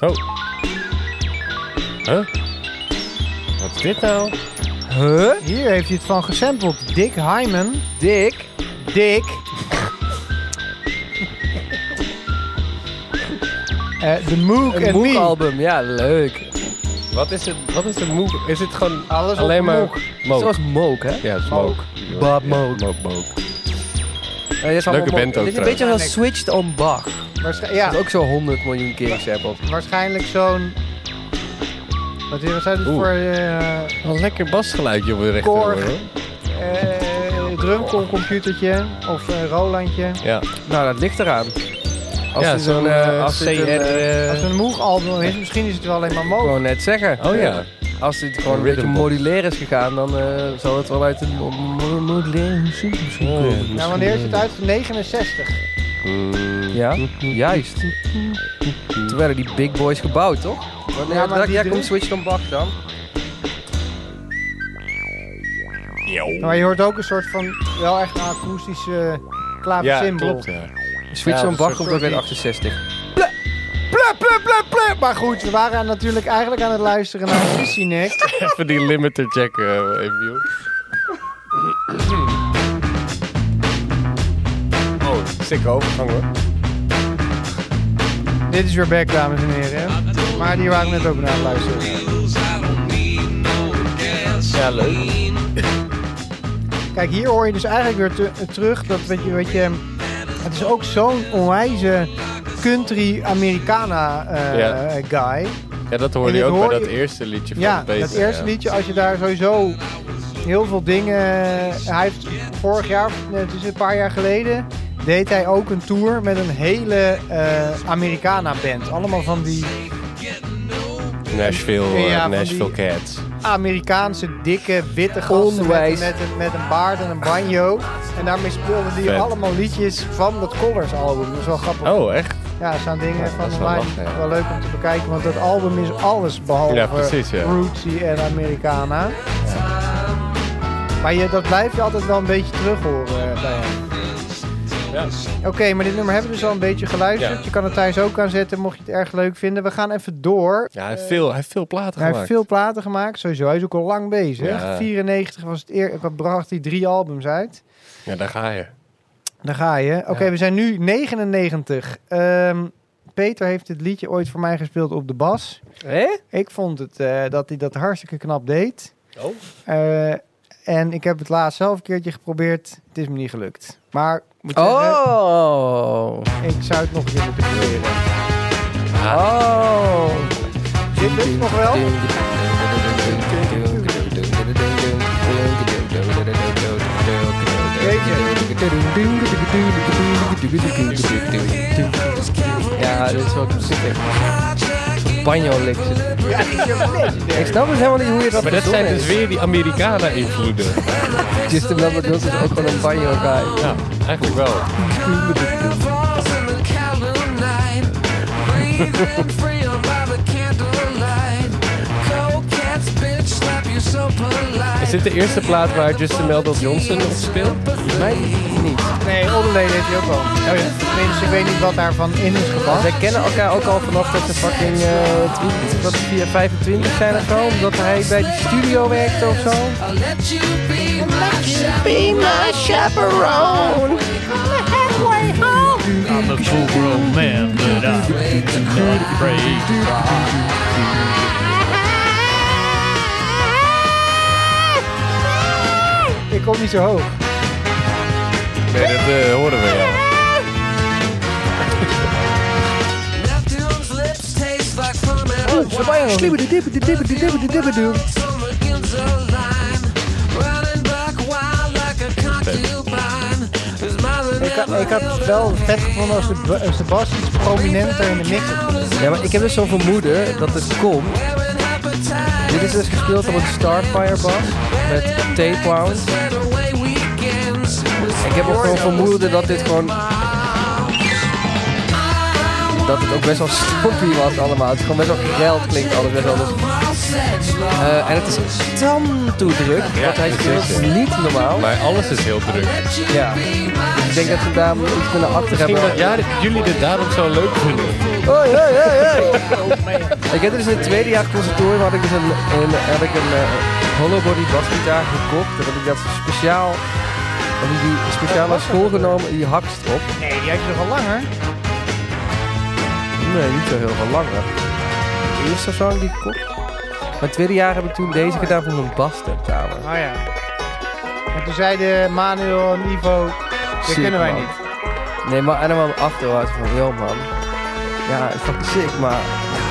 S2: Oh. Huh? Wat is dit nou?
S5: Huh?
S3: Hier heeft hij het van gesampled. Dick Hyman.
S5: Dick?
S3: Dick. Eh, De Moog
S5: Een
S3: en
S5: Moog
S3: Me.
S5: album, ja leuk.
S2: Wat is het? Wat is het moog? Is het gewoon
S3: Alles
S2: alleen
S3: op
S2: maar
S3: Moog.
S2: moog?
S5: Zoals Moog, hè?
S2: Ja, het is moog.
S5: Bob
S2: Ja,
S5: Moog.
S2: Moog, moog.
S5: Ja, dit is allemaal
S2: Leuke
S5: Moog.
S2: band ook
S5: Dit is een
S2: trouwens.
S5: beetje als Switched on Bach.
S3: Waarsch- ja,
S5: Dat is ook zo 100 miljoen keer gesampled.
S3: waarschijnlijk zo'n... Wat is wat zijn dit
S2: Oeh.
S3: voor eh
S2: Wat een lekker basgeluidje op de
S3: Korg.
S2: rechteroor. hoor.
S3: eh drumcomputertje of een Rolandje?
S2: Ja.
S5: Nou, dat ligt eraan. Als
S2: ja,
S5: je zo'n
S2: zo'n
S5: eh,
S2: eh
S5: als
S2: CR...
S5: dit een, eh,
S2: eh,
S3: Als het een Moog album is, misschien is het wel alleen maar
S5: ik
S3: Moog.
S5: wou net zeggen.
S2: oh ja.
S5: Als dit gewoon een
S2: Rhythm
S5: beetje
S2: box.
S5: modulair is gegaan, dan eh, zal het wel uit een mo- mo- modulaire muziek misschien
S2: Oh.
S5: komen.
S3: Nou, wanneer is het uit? 69.
S5: Ja, juist. Toen werden die big boys gebouwd, toch? Wanneer
S3: Ja, maar
S5: ja,
S3: die
S5: jij
S3: drie-
S5: komt Switch on Bach dan?
S3: Maar je hoort ook een soort van wel echt een akoestische eh,
S2: Ja,
S3: klaversymbol.
S2: klopt. Ja.
S5: Switch
S2: Ja,
S5: on
S2: dat
S5: Bach
S2: is
S5: komt
S2: een
S5: ook uit 68.
S3: Plep, plep, plep, plep. Maar goed, we waren natuurlijk eigenlijk aan het luisteren naar Sissy Nick.
S2: Even die limiter checken eh, even, joh. Oh, sikke overgang hoor.
S3: Dit is weer back, dames en heren. Maar die waren we net ook naar aan het luisteren.
S2: Ja, leuk.
S3: Kijk, hier hoor je dus eigenlijk weer te- terug dat, weet je, weet je, het is ook zo'n onwijze country Americana eh,
S2: Ja.
S3: guy.
S2: Ja, dat
S3: En
S2: hoorde je
S3: dit
S2: ook
S3: hoor
S2: bij dat
S3: je-
S2: eerste liedje van
S3: Ja,
S2: Peter,
S3: dat eerste
S2: ja.
S3: liedje, als je daar sowieso heel veel dingen... Hij heeft vorig jaar, nee, het is een paar jaar geleden, deed hij ook een tour met een hele eh Americana-band. Allemaal van die
S2: Nashville, eh,
S3: Ja, van
S2: Nashville
S3: die-
S2: Cats.
S3: Amerikaanse, dikke, witte gasten met,
S5: Onwijs.
S3: met, een, met een baard en een banjo. En daarmee speelden die
S2: Vet.
S3: allemaal liedjes van dat Colors-album. Dat is wel grappig.
S2: Oh, echt?
S3: Ja, er staan dingen van
S2: dat is
S3: de
S2: wel
S3: lijn.
S2: lachen, ja.
S3: Wel leuk om te bekijken, want dat album is alles behalve
S2: Ja, precies, ja.
S3: rootsy en Americana. Maar je, dat blijf je altijd wel een beetje terug horen eh, bij hem.
S2: Ja.
S3: Oké, maar dit nummer hebben we dus al een beetje geluisterd.
S2: Ja.
S3: Je kan het thuis ook aanzetten, mocht je het erg leuk vinden. We gaan even door.
S2: Ja, hij heeft veel, hij heeft veel platen
S3: Eh, Hij heeft
S2: gemaakt.
S3: veel platen gemaakt, sowieso. Hij is ook al lang bezig.
S2: Ja.
S3: 94 was het eer, bracht hij drie albums uit.
S2: Ja, daar ga je.
S3: Daar ga je. Oké, we zijn nu 99. Ehm, Peter heeft dit liedje ooit voor mij gespeeld op de bas.
S5: Hé?
S3: Ik vond het, eh, dat hij dat hartstikke knap deed.
S2: Oh.
S3: Eh, en ik heb het laatst zelf een keertje geprobeerd. Het is me niet gelukt. Maar ik moet zeggen,
S5: Oh!
S3: ik zou het nog een keer moeten proberen.
S2: Ah.
S5: Oh!
S3: Dit lukt nog wel.
S5: Ja, dit is wel super. Banjo licks.
S3: Ja, ik heb het legendary.
S5: Ik snap dus helemaal niet hoe je dat
S2: Maar dat zijn dus weer die Americana-invloeden.
S5: Justin Lambert Wilson is ook gewoon een banjo guy.
S2: Ja, eigenlijk wel. Is dit de eerste plaat waar Justin Meldon Johnson op speelt?
S5: Mij niet.
S3: Nee, Oldeleden heeft hij ook al. Oh ja. Tenminste, ik weet niet wat daarvan in is
S5: Maar
S3: gepast.
S5: zij kennen elkaar ook al vanaf dat ze fucking eh, 20 dat ze 4, 25 zijn of zo. Omdat hij bij die studio werkte of zo.
S8: I'm a full grown man, but I'm not afraid.
S3: Ik kom niet zo hoog.
S2: Nee, dat eh, horen we ja.
S5: Oh, ze banjo.
S3: Ik, had- ik had het wel vet gevonden als de, ba- als de bas iets prominenter in de mix had gezeten.
S5: Ja, maar ik heb dus zo'n vermoeden dat het komt. Dit is dus gespeeld op een Starfire bas met tape wound. Ik heb ook gewoon vermoeden dat dit gewoon dat het ook best wel stompie was allemaal. Het is gewoon best wel geld klinkt alles best wel. Dus, eh, en het is dan toedruk, want hij
S2: dat is
S5: speelt
S2: het.
S5: niet normaal.
S2: Maar alles is heel druk.
S5: Ja. Dus ik denk dat we daar iets kunnen achter
S2: Misschien
S5: hebben.
S2: dat jij- jullie dit daarom zo leuk vinden.
S5: Hoi, hoi, hoi, hoi.
S3: Oh,
S5: ik heb dus in het tweede jaar conservatorium had ik dus een, een, heb ik een eh, hollow body basgitaar gekocht. En heb ik dat speciaal, heb ik die speciaal naar school genomen, die hakst op.
S3: Nee, die had je toch al langer?
S5: Nee, niet zo heel veel langer. De eerste zang die ik kocht. Maar het tweede jaar heb ik toen deze gedaan voor een bastentamen.
S3: Oh ja. En toen zeiden Manuel en Ivo, dit
S5: Sick,
S3: kunnen wij
S2: nou.
S5: man.
S3: niet.
S5: Nee, maar en dan kwam achteruit van, joh man. Ja, het is fucking sick, maar ja,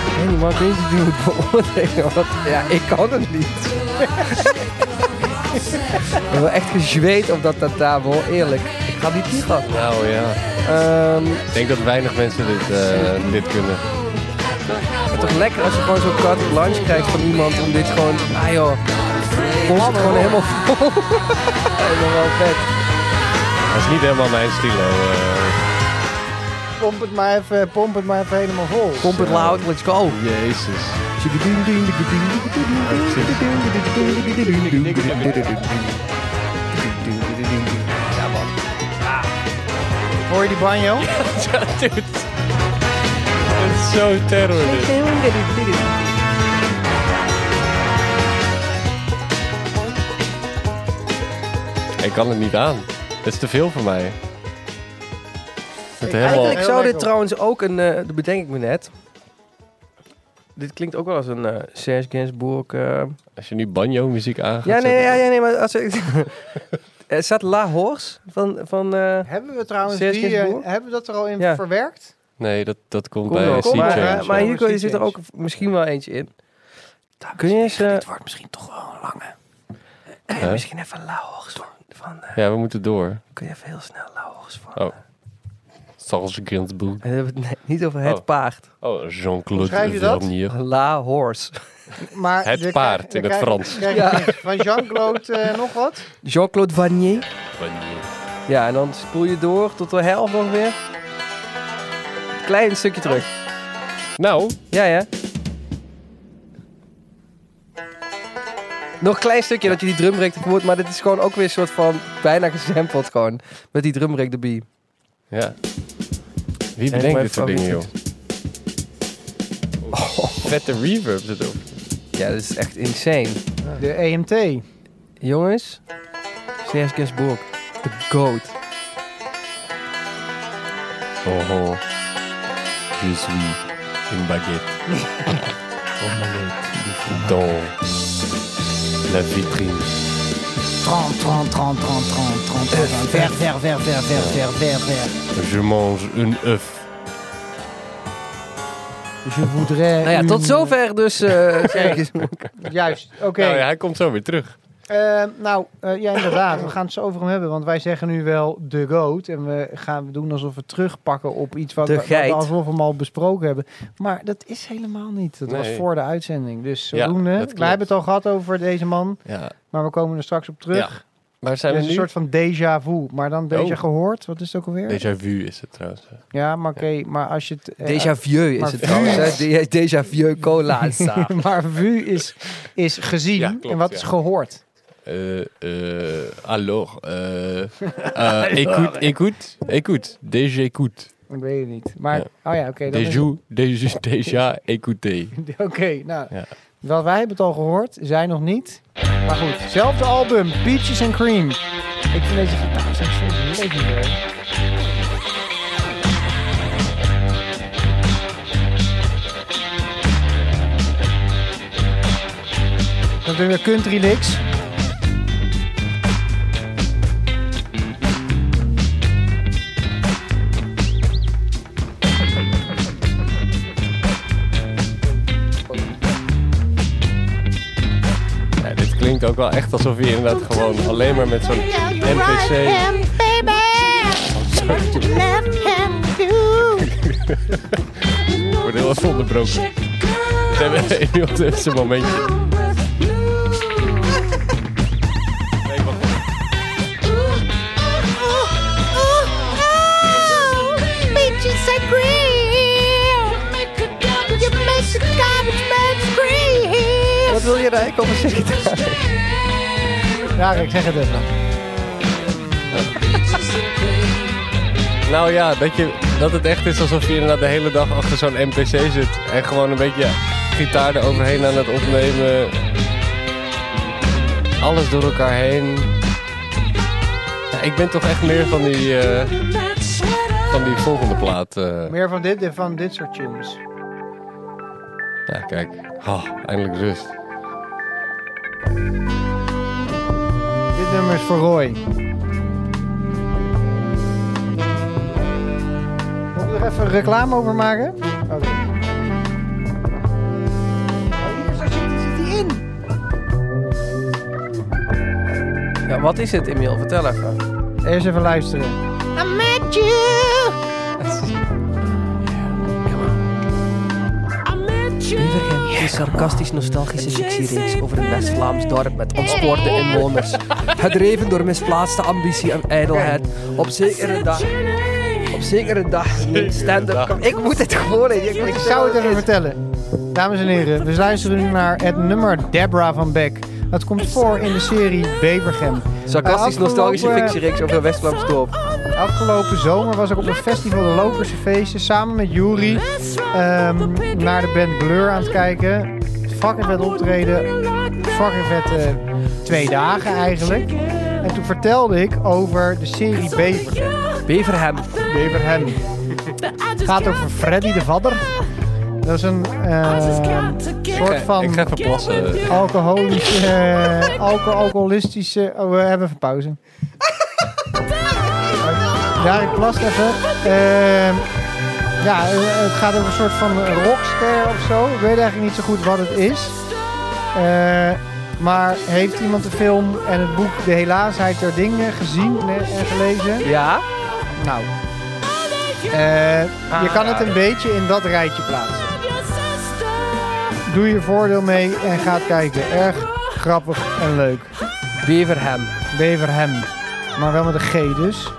S5: ik weet niet, man, ik weet niet hoe ik het beoordelen, want ja, ik kan het niet. We hebben echt gezweet op dat tafel, eerlijk. Ik ga niet diep gaan.
S2: Nou ja.
S5: Ehm,
S2: Ik denk dat weinig mensen dit, eh, dit kunnen.
S5: het is toch lekker als je gewoon zo'n carte lunch krijgt van iemand om dit gewoon, ah joh, ons het gewoon helemaal vol. helemaal wel vet.
S2: Dat is niet helemaal mijn stilo. eh.
S3: Pomp het maar even, pomp het maar even helemaal vol.
S5: Pomp het loud, let's go.
S2: Jezus.
S3: Ah. Hoor je die banjo?
S2: Het is zo terror dit. Ik kan het niet aan. Het is te veel voor mij. Het helemaal...
S5: Eigenlijk
S3: Heel
S5: zou
S3: lekker
S5: dit
S3: op.
S5: trouwens ook een, eh, dat bedenk ik me net. Dit klinkt ook wel als een eh Serge Gainsbourg. eh,
S2: Als je nu banjo-muziek aan gaat
S5: Ja, nee,
S2: zetten-
S5: ja, ja, nee, maar als ik. Er staat La Horse van. van eh,
S3: Hebben we trouwens
S5: Serge
S3: die, eh,
S5: Gainsbourg?
S3: hebben we dat er al in
S5: Ja.
S3: verwerkt?
S2: Nee, dat, dat komt
S5: Kom
S2: bij
S5: nog,
S2: Sea
S3: kom
S5: maar,
S3: Change,
S5: eh,
S2: Change.
S3: ja.
S5: maar hier
S3: Sea
S5: zit er ook
S3: Change.
S5: misschien wel eentje in. Kun je eens. eh,
S1: wordt misschien toch wel een lange.
S2: Hè?
S5: misschien even La Horse van. van eh,
S2: Ja, we moeten door.
S5: kun je even heel snel La Horse van.
S2: Oh. Charles Gainsbourg.
S5: En dan hebben we het net niet over het
S2: Oh.
S5: paard.
S2: Oh,
S3: Schrijf
S2: Jean-Claude
S3: je dat?
S2: Vernier.
S5: La Horse.
S3: Maar
S2: Het
S3: we krijgen-
S2: paard
S3: we
S2: in het
S3: krijgen-
S2: Frans.
S3: krijgen Van Jean-Claude eh, nog wat?
S5: Jean-Claude Vanier.
S2: Vernier.
S5: Ja, en dan spoel je door tot de helft nog weer. Klein stukje terug.
S2: Nou,
S5: Ja, ja. Nog een klein stukje dat je die drumbreak ervoor hoort, maar dit is gewoon ook weer een soort van bijna gesampled gewoon. Met die drumbreak erbij.
S2: ja. Wie
S5: mijn
S2: bedenkt dit soort dingen, joh? Oh. Vette reverb zit erop.
S5: Ja, dat is echt insane.
S3: De
S5: E
S3: EMT.
S5: Jongens, Serge Gainsbourg, de goat.
S2: Oh, oh. Je suis une baguette. Oh, Dans la vitrine.
S9: 30, 30, 30, 30, 30, 30, 30, ver, ver, ver, ver, ver, ver, ver, ver.
S2: Je mange een œuf.
S9: Je voudrais...
S5: Nou ja, tot zover dus eh, Serge Gainsbourg.
S3: Juist, oké.
S2: Nou ja, hij komt zo weer terug.
S3: Eh, nou, eh, ja, inderdaad. We gaan het zo over hem hebben. Want wij zeggen nu wel de goat. En we gaan doen alsof we terugpakken op iets wat,
S5: De
S3: wat we
S5: geit.
S3: alsof we hem al besproken hebben. Maar dat is helemaal niet. Dat was
S2: Nee.
S3: voor de uitzending. Dus
S2: Ja,
S3: zodoende.
S2: dat
S3: wij
S2: klopt.
S3: hebben het al gehad over deze man.
S2: Ja.
S3: Maar we komen er straks op terug.
S2: Ja. Waar zijn
S3: Het
S2: we
S3: is
S2: nu?
S3: een soort van déjà vu. Maar dan déjà
S2: Oh.
S3: gehoord. Wat is het ook alweer?
S2: Déjà vu is het trouwens.
S3: Ja, maar oké. Maar als je het... eh,
S5: Déjà vieux is
S3: Maar
S5: het
S3: vu-
S5: trouwens. hè. De- Déjà vieux cola. sa.
S3: maar vu is, is gezien.
S2: Ja, klopt,
S3: en wat
S2: ja.
S3: is gehoord?
S2: Eh, eh, alors, eh, eh, écoute, écoute, écoute, déjà écoute.
S3: Ik weet het niet. Maar, oh ja, oké. dan is-
S2: Déjà, déjà, déjà écouté.
S3: Oké, nou.
S2: Ja.
S3: Wel, wij hebben het al gehoord, zij nog niet. Maar goed, zelfde album, Peaches and Cream. Ik vind deze gitaar zijn zo legendair. Dat is weer country licks.
S2: Ja, dit klinkt ook wel echt alsof je inderdaad gewoon alleen maar met zo'n NPC... Wordt heel even onderbroken. We hebben iemand heeft zijn momentje.
S6: Peaches and cream.
S5: Wat wil je daar eigenlijk over zeggen?
S3: Ja, ik zeg het even.
S2: Nou ja, dat, je, dat het echt is alsof je inderdaad de hele dag achter zo'n NPC zit. En gewoon een beetje gitaar eroverheen aan het opnemen. Alles door elkaar heen. Ja, ik ben toch echt meer van die, eh, van die volgende plaat. eh.
S3: Meer van dit, van dit soort tunes.
S2: Ja, kijk. Ah, eindelijk rust.
S3: Dit nummer is voor Roy. Moet ik er even reclame over maken? Oké. Hier zo zit- zit hij in.
S5: Ja, wat is het, Emiel? Vertel even.
S3: Eerst even luisteren.
S5: Bevergem is sarcastisch-nostalgische fictiereeks over een West-Vlaams dorp met ontspoorde inwoners. Gedreven door misplaatste ambitie en ijdelheid. Op zekere dag... Op zekere dag... in Stand-up... kom- Ik moet het gewoon... Ik, ik,
S3: Ik zou het even vertellen. Dames en heren, we luisteren nu naar het nummer Deborah van Beck. Dat komt voor in de serie Bevergem.
S5: Sarcastisch-nostalgische
S3: Afgelopen-
S5: fictiereeks over een West-Vlaams dorp.
S3: Afgelopen zomer was ik op een festival de Loperse Feesten samen met Jury ehm, naar de band Blur aan het kijken. Fucking vet optreden. Fucking vet eh, twee dagen eigenlijk. En toen vertelde ik over de serie Bevergem.
S5: Beverhem.
S3: Bevergem. Het gaat over Freddy de Vadder. Dat is een eh, soort van...
S2: Ik ga even plassen.
S3: Oh. alcoholische, eh, alco- alcoholistische. Oh, we hebben even pauze. ja, ik plast even. Ehm, ja, eh, het gaat over een soort van rockster of zo. Ik weet eigenlijk niet zo goed wat het is. Eh, maar heeft iemand de film en het boek De Helaasheid der Dingen gezien en en gelezen?
S5: Ja?
S3: Nou. Eh, je kan het een beetje in dat rijtje plaatsen. Doe je voordeel mee en ga het kijken. Erg grappig en leuk.
S5: Beverhem.
S3: Beverhem. Maar wel met een G dus.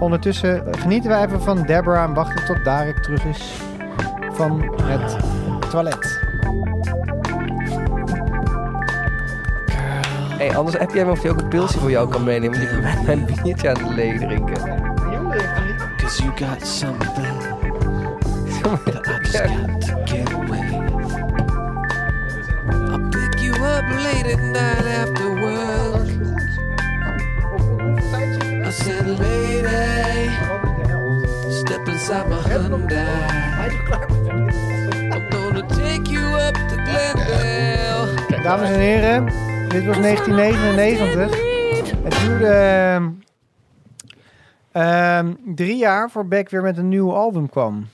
S3: Ondertussen genieten wij even van Deborah en wachten tot Darek terug is van het toilet.
S5: Hé, hey, anders heb jij me of je ook een pilsje voor jou kan meenemen. Want ik ben mijn biertje aan het leeg drinken.
S7: Cause you got something that I just
S5: Yeah.
S7: got to get away. I'll pick you up late at night after work. I said, lady, step inside my Hyundai. I'm gonna take you up to Glendale.
S3: Dames en heren, dit was 1999. Het duurde ehm, ehm, drie jaar voor Beck weer met een nieuw album kwam.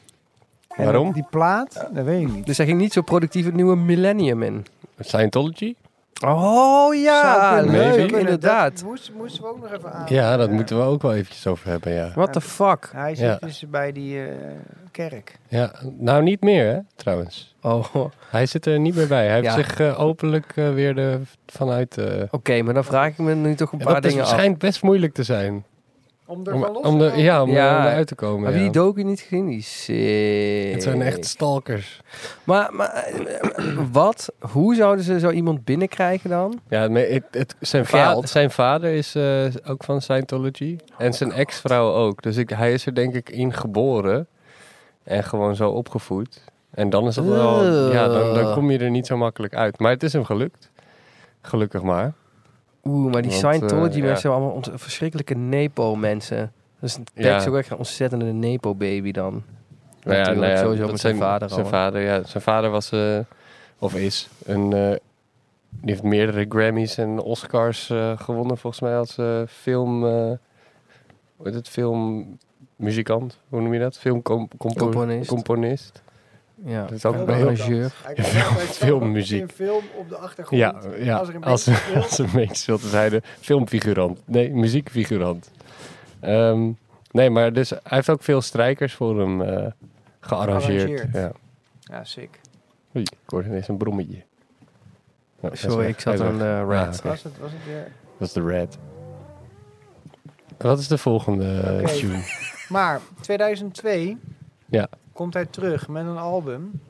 S3: En
S2: Waarom?
S3: Die plaat, dat weet ik niet.
S5: Dus hij ging niet zo productief het nieuwe millennium in.
S2: Scientology?
S5: Oh ja,
S3: Zou kunnen,
S2: leuk,
S3: zou kunnen.
S5: inderdaad.
S3: Dat moest- moesten we ook nog even aan.
S2: Ja, dat moeten we ook wel eventjes over hebben, ja.
S5: What the fuck?
S3: Hij zit
S2: Ja.
S3: dus bij die eh, kerk.
S2: ja. Nou, niet meer, hè, trouwens.
S5: Oh, oké,
S2: Hij zit er niet meer bij. Hij
S5: Ja.
S2: heeft zich eh, openlijk eh, weer de, vanuit... eh
S5: maar dan vraag ik me nu toch een
S2: en
S5: paar
S2: dat is
S5: dingen af.
S2: waarschijnlijk best moeilijk te zijn.
S3: Om
S2: Om, om de, ja, om,
S5: Ja.
S2: er- om eruit te komen.
S5: Heb je
S2: ja.
S5: die docu niet gezien? Die shit.
S2: Het zijn echt stalkers.
S5: Maar, maar eh, wat? Hoe zouden ze zo iemand binnenkrijgen dan?
S2: Ja, maar het, het- zijn, va-
S5: Geld.
S2: zijn vader is eh, ook van Scientology. En zijn
S5: Oh,
S2: ex-vrouw ook. Dus ik, hij is er denk ik in geboren. En gewoon zo opgevoed. En dan is dat wel... Ja, dan, dan kom je er niet zo makkelijk uit. Maar het is hem gelukt. Gelukkig maar.
S5: Oeh, maar die
S2: Want, eh,
S5: Scientology
S2: ja.
S5: mensen zijn allemaal ont- verschrikkelijke nepo-mensen. Dus het
S2: Ja.
S5: is ook echt een ontzettende nepo-baby dan.
S2: Nou ja,
S5: Natuurlijk,
S2: nou ja,
S5: sowieso
S2: dat
S5: met zijn vader al.
S2: Zijn vader, ja. Zijn vader was, eh, of is, een... eh, die heeft meerdere Grammys en Oscars eh, gewonnen, volgens mij, als eh, film... eh, hoe heet het? Filmmuzikant, hoe noem je dat? Filmcomponist.
S5: Componist.
S2: Componist.
S5: ja.
S2: Dat is ook
S5: Een
S2: een heel...
S5: arrangeur.
S2: filmmuziek.
S3: Een film op de achtergrond.
S2: Ja, ja,
S3: Als er een
S2: als,
S3: beetje speelt.
S2: als een beetje speelt, dan zei de filmfigurant. Nee, muziekfigurant. Ehm, nee, maar dus, hij heeft ook veel strijkers voor hem eh, gearrangeerd.
S3: Gearrangeerd.
S2: Ja.
S3: Ja, sick.
S2: Oei, ik hoorde ineens een brommetje. Nou, hij is
S5: Sorry,
S2: weg.
S5: ik zat
S2: Hij is
S5: aan
S2: weg.
S5: de rant.
S2: Ah, oké.
S3: Was het, was het weer.
S2: Dat is de red. Wat is de volgende eh,
S3: Oké.
S2: tune?
S3: Maar 2002
S2: Ja.
S3: komt hij terug met een album.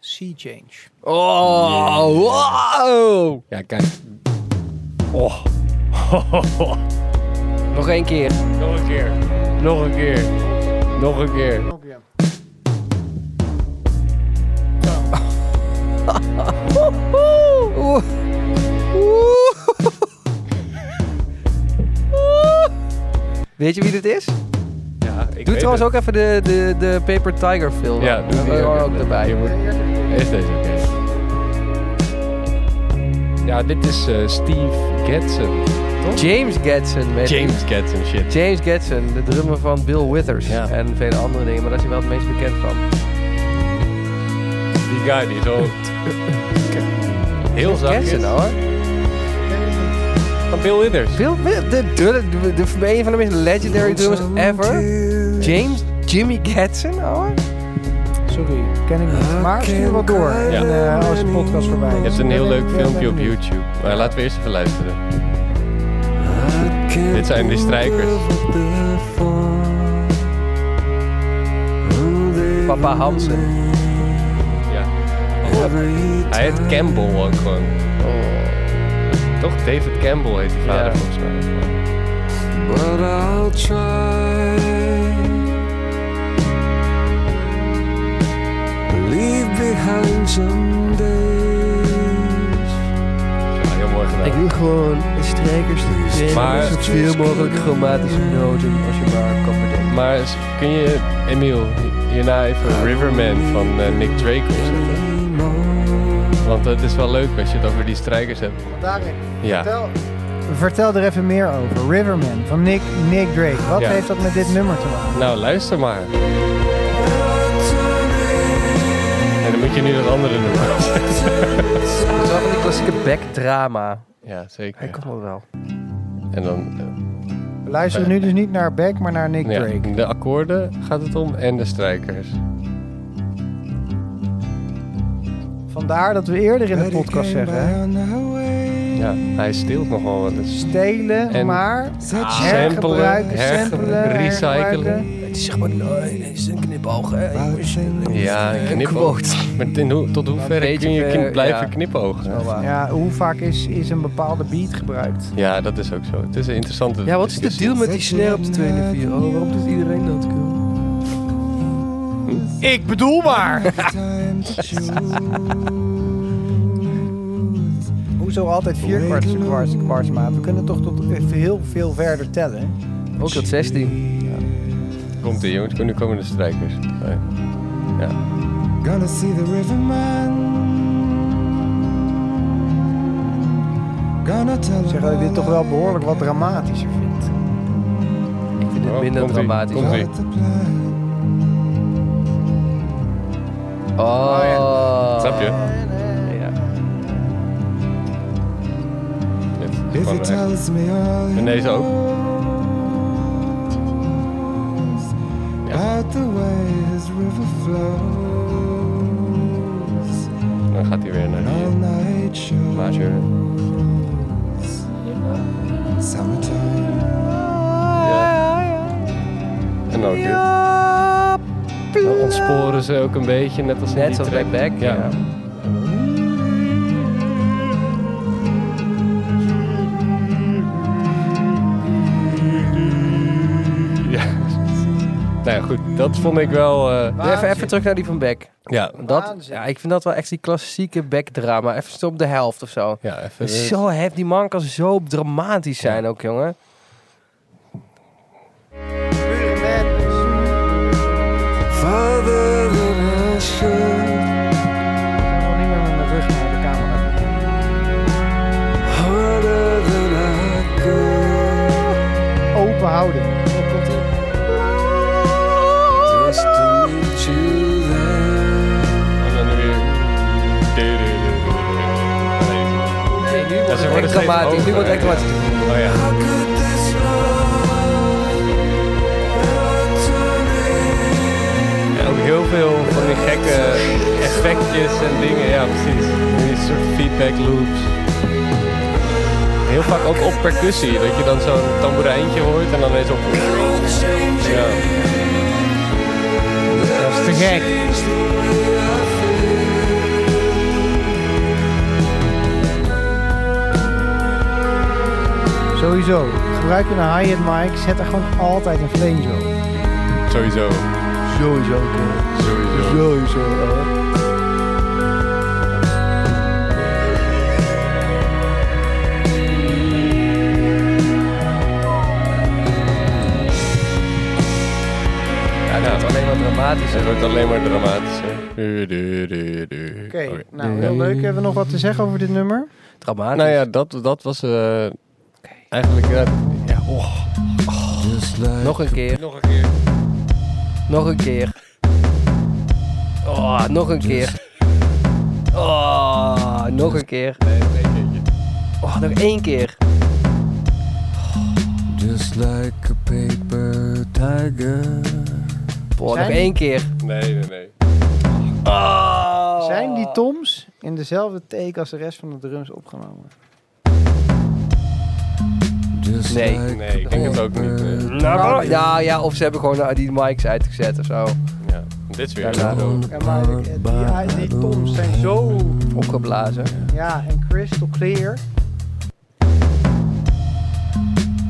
S3: Sea Change.
S5: Oh, wow!
S2: Ja, kijk. Oh.
S5: Nog één keer.
S2: Nog een keer. Nog een keer. Nog een keer.
S5: Oeh. Oeh. Weet je wie dit is?
S2: Ja, ik
S5: Doe trouwens ook even de, de, de Paper Tiger film.
S2: Ja, doe die
S5: Eh, ook
S2: even.
S5: erbij.
S2: Je moet- Is deze oké? Ja, dit is eh, Steve Getson.
S5: James Gadson. weet je.
S2: James Getson, shit.
S5: James Gadson, de drummer van Bill Withers.
S2: Ja.
S5: En vele andere dingen, maar daar is hij wel het meest bekend van.
S2: Die guy die zo... Heel zachtjes.
S5: Gadson nou, hoor.
S2: Van Bill Withers.
S5: Bill Withers, de, de, de, de- een van de meest legendary drummers ever. James Jimmy Gadson hoor.
S3: Sorry, ken ik niet. Maar stuur wat door.
S2: Ja.
S3: En eh, als de podcast voorbij is.
S2: Je hebt een heel leuk filmpje op YouTube. Maar laten we eerst even luisteren. Dit zijn de strijkers.
S5: Papa Hansen.
S2: Ja. Hij heet Campbell ook gewoon. Oh. Toch? David Campbell heet die vader
S5: Ja.
S2: volgens mij.
S4: But I'll try. Leave behind some days.
S2: Ja, Ah, heel mooi gedaan.
S5: Ik doe gewoon strijkers
S2: Maar-
S5: maar zoveel mogelijk chromatische noten als je maar kan bedenken.
S2: Maar s- kun je, Emiel, hierna even Riverman van eh, Nick Drake opzetten? Want het is wel leuk als je het over die strijkers hebt.
S3: Daarin.
S2: Ja,
S3: Vertel, vertel er even meer over. Riverman van Nick, Nick Drake. Wat
S2: Ja.
S3: heeft dat met dit nummer te maken?
S2: nou luister maar. En dan moet je nu dat andere nummer opzetten.
S5: Het is wel van die klassieke backdrama.
S2: Ja,
S5: Hij
S2: zeker.
S5: kan wel wel.
S2: En dan eh,
S3: We luisteren nu dus niet naar Beck, maar naar Nick
S2: ja,
S3: Drake.
S2: de akkoorden gaat het om en de strijkers.
S3: Vandaar dat we eerder in de podcast zeggen: hè.
S2: Ja, hij steelt nogal wat. Dus
S3: stelen,
S2: En-
S3: maar
S2: samplen,
S3: hergebruiken, samplen,
S2: hergebruiken,
S3: hergebruiken.
S2: recyclen.
S5: Het is zeg maar nee, het is een knipoog.
S2: Ja, knipoog. Maar ten hoe- tot hoeverre
S5: Beetje
S2: kun je
S5: ver,
S2: kn- blijven
S5: ja.
S2: knipogen?
S3: Ja, hoe vaak is, is een bepaalde beat gebruikt?
S2: Ja, dat is ook zo. Het is een interessante
S5: Ja, wat is de
S2: discussie.
S5: deal met die snare op de 2 en 4? Oh, waarom doet iedereen dat?
S3: Ik bedoel maar! Hoezo altijd vierkwarts, kwarts, kwarts maat? We kunnen toch tot even heel veel verder tellen.
S5: Ook tot 16.
S2: Komt ie jongens, nu komen de strijkers. Nee.
S5: Ah.
S4: Gonna see the river man. Gonna tell
S3: Ik zeg dat ik dit toch wel behoorlijk wat dramatischer vind.
S5: Ik vind het
S2: Oh,
S5: minder
S2: komt-ie,
S5: dramatisch.
S2: komt-ie.
S4: the plan.
S5: Oh.
S2: Snap je?
S5: Ja.
S2: Dit is
S4: If
S2: gewoon
S4: he
S2: echt-
S4: tells me all he
S2: En deze ook.
S4: knows about the way his river flows.
S2: Dan gaat hij weer naar
S4: All
S2: die
S4: night shows.
S2: major.
S4: Summertime.
S2: En ook dit. Dan ontsporen ze ook een beetje, net als in
S5: Net
S2: die
S5: zoals
S2: track.
S5: bij Beck, ja.
S2: Ja. Nou ja, goed. Dat vond ik wel... eh,
S5: Even, even terug naar die van Beck.
S2: ja.
S5: Dat,
S3: Waanzin.
S5: ja, ik vind dat wel echt die klassieke Beck-drama. Even tot op de helft of zo.
S2: Ja, even...
S5: Het is Zo hef, die man kan zo dramatisch zijn ook, jongen.
S4: Father than I should.
S3: Nog niet meer met mijn rug naar de camera.
S4: Harder than I could.
S3: Open houding.
S4: Just to meet you there.
S2: En dan weer... Ja, ze worden
S5: Echt
S2: steeds
S5: dramatisch. Nu wordt het echt
S2: hoger, ja.
S5: dramatisch.
S2: Oh ja.
S4: How could this love ever turn in?
S2: En ook heel veel van die gekke effectjes en dingen. Ja, precies. Die soort feedback loops. Heel vaak ook op percussie. Dat je dan zo'n tamboerijntje hoort en dan ineens op... Ja.
S3: Dat is te gek.
S4: Change the way I feel.
S3: Sowieso. Gebruik je een hi-hat mic, zet er gewoon altijd een flange op.
S2: Sowieso.
S3: Sowieso.
S2: Sowieso.
S3: Sowieso.
S5: Ja, nou, het is alleen maar dramatisch.
S2: Het wordt alleen maar dramatischer. Du- du- du- du.
S3: Oké, nou heel leuk. Hebben we nog wat te zeggen over dit nummer?
S5: Dramatisch.
S2: Nou ja, dat, dat was eh, eigenlijk... eh, ja, oh.
S5: Nog een keer.
S2: Nog een keer.
S5: Nog een keer. Oh, nog een keer. Oh, nog een keer.
S2: Nee, nee, keertje.
S5: Oh, nog één keer.
S7: Just like a paper tiger.
S5: Boah, nog
S3: Zijn-
S5: één keer.
S2: Nee, nee, nee.
S5: Oh.
S3: Zijn die toms in dezelfde take als de rest van de drums opgenomen?
S7: Just
S5: Nee.
S7: like
S2: Nee, ik
S5: Oh.
S2: denk het ook niet. eh. nee.
S5: Nou, ja, ja, of ze hebben gewoon eh, die mics uitgezet of zo.
S2: Ja. Dit is weer
S5: Ja,
S2: een dood.
S3: Ja, maar eh, die, ja, die toms zijn zo...
S5: Opgeblazen.
S3: Ja, en crystal clear.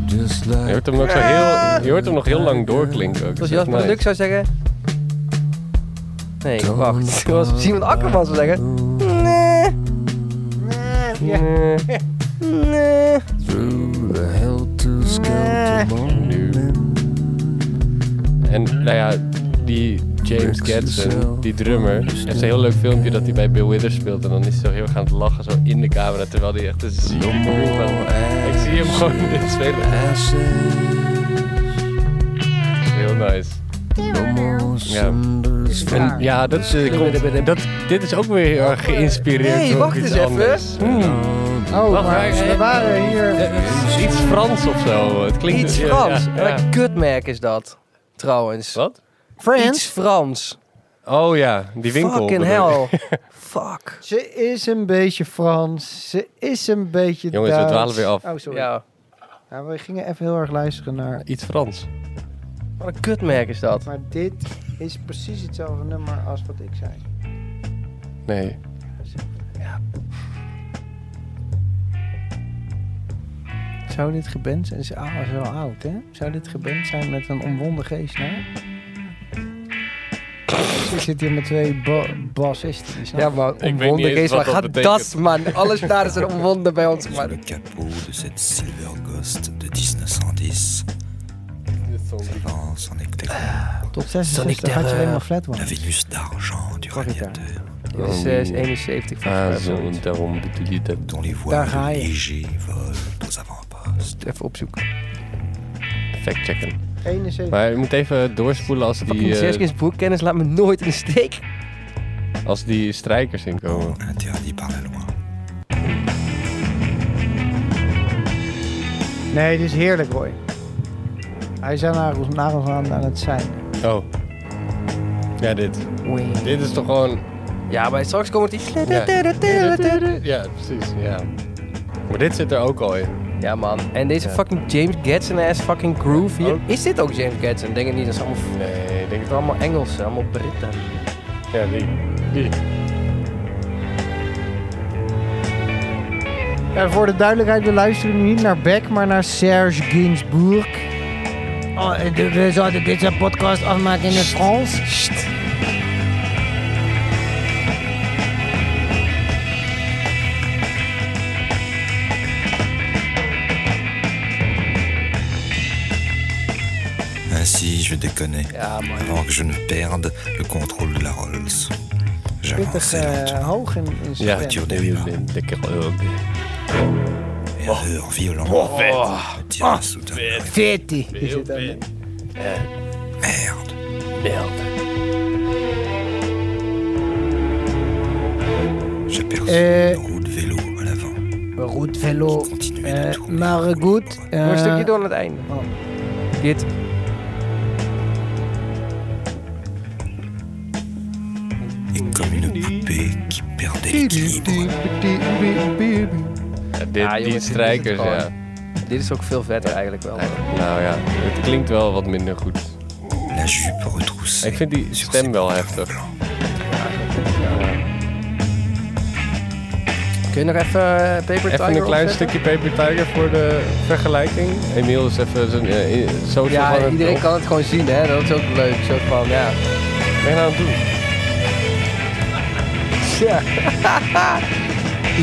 S7: Just
S2: Je
S7: like
S2: hoort hem nog zo heel, je hoort hem nog heel lang doorklinken ook. Dus
S5: Als Jasper de Lux zou zeggen... Nee, wacht. Zoals Simon Akkerman zou zeggen... Nee,
S3: Ja.
S5: nee, nee.
S7: through the helter-skelter morning.
S2: En nou ja, die James Gadsden, die drummer, heeft een heel leuk filmpje dat hij bij Bill Withers speelt. En dan is hij zo heel erg aan het lachen, zo in de camera, terwijl hij echt een zieke groove aan het maken is. Ik zie hem gewoon dit spelen. Heel nice. Ja. En ja, dat, is, eh, komt, dat, dit is ook weer heel erg geïnspireerd
S5: Nee,
S2: door
S5: wacht
S2: iets
S5: eens even. Hmm.
S2: anders.
S3: Oh,
S2: Wacht, maar-
S3: maar we waren hier...
S2: Eh, Iets Frans of zo. Het klinkt
S5: Iets
S2: ja,
S5: Frans.
S2: ja,
S5: Wat
S2: ja.
S5: een kutmerk is dat. Trouwens.
S2: Wat?
S5: Iets Frans.
S2: Oh ja, die winkel.
S5: Fucking
S2: bedoel ik.
S5: hell. Fuck.
S3: Ze is een beetje Frans. Ze is een beetje
S2: Jongens, we
S3: Duits.
S2: dwalen weer af.
S3: Oh, sorry. Ja.
S5: Ja.
S3: we gingen even heel erg luisteren naar...
S2: Iets Frans.
S5: Wat een kutmerk is dat.
S3: Maar dit is precies hetzelfde nummer als wat ik zei.
S2: Nee.
S3: Zou dit geband zijn? Ze ah, is wel oud, hè? Zou dit geband zijn met een omwonden geest, nou? Ik zit hier met twee ba- bassisten. die zijn-
S5: Ja, maar
S2: niet
S5: omwonden
S2: eens
S5: geest.
S2: wat
S5: Waar
S2: dat
S5: gaat
S2: betekent.
S5: dat, man? Alles daar is een omwonden bij ons, man.
S10: capot de cette Silver Ghost de 1910 avance en éclairant
S3: Tot 66
S9: eh,
S3: had je alleen maar flat
S10: la Vénus d'argent du radiateur
S5: Dit is eh, is 71
S2: Ah,
S5: volgens mij.
S2: zo, daarom bedoel je dat.
S10: dont les
S3: Daar
S10: voiles
S3: ga je.
S10: légers volent aux avant-postes.
S5: Even opzoeken.
S2: Fact checken.
S3: 71.
S2: Maar je moet even doorspoelen als die,
S5: Fucking
S2: eh,
S5: Zeskins boekkennis laat me nooit in de steek.
S2: als die strijkers inkomen.
S10: Interdits par la loi.
S3: Nee, dit is heerlijk, Roy. Hij zou naar ons naar ons aan aan het zijn.
S2: Oh. Ja, dit. Dit is toch gewoon...
S5: Ja, maar straks komt het iets.
S2: Ja, ja precies. Ja. Maar dit zit er ook al in.
S5: Ja, man. En deze fucking James Gadsden-ass fucking groove hier. Is dit ook James Gadsden? Denk het niet. Dat is allemaal, f-
S2: Nee, ik denk
S5: het
S2: het
S5: is allemaal Engelsen, allemaal Britten.
S2: Ja, die. Die.
S3: En voor de duidelijkheid, we luisteren nu niet naar Beck, maar naar Serge Gainsbourg.
S9: Oh, we zouden deze podcast afmaken in het Frans.
S10: Ainsi, je déconnais
S5: Ja, man.
S10: avant que je ne perde le contrôle de la Rolls.
S3: Pittig
S10: J'avançais lentement,
S3: eh, hoog in, in zijn
S2: Ja,
S3: stem.
S10: voiture
S2: Die.
S10: départ, et un heurt violent me tira soudain.
S9: Vetti.
S3: Die zit daar niet.
S10: Merde, j'aperçus
S3: Euh,
S10: une roue de vélo à l'avant
S9: Goed velo.
S10: qui continuait de
S9: Eh,
S10: tourner.
S9: maar goed.
S5: Nog een stukje
S9: eh
S5: door naar het einde. Dit.
S10: Et comme une poupée qui perdait l'équilibre,
S2: Ja, dit,
S5: Ah, jongens, dit
S2: die
S5: is
S2: strijkers,
S5: het
S2: ja.
S5: gewoon. Dit is ook veel vetter eigenlijk wel.
S2: Nou ja, het klinkt wel wat minder goed.
S10: la jupe retroussée.
S2: Ik vind die
S10: sur ses
S2: stem wel
S10: pantalons
S2: heftig.
S10: blancs.
S5: Kun je nog even eh, Paper Tiger
S2: Even een klein
S5: opzetten?
S2: stukje Paper Tiger voor de vergelijking. Emiel is even zijn eh, eh, social aan
S5: Ja,
S2: het-
S5: iedereen kan het gewoon zien, hè. Dat is ook leuk. Zo van, ja.
S2: Wat ben je nou aan het doen?
S5: Ja.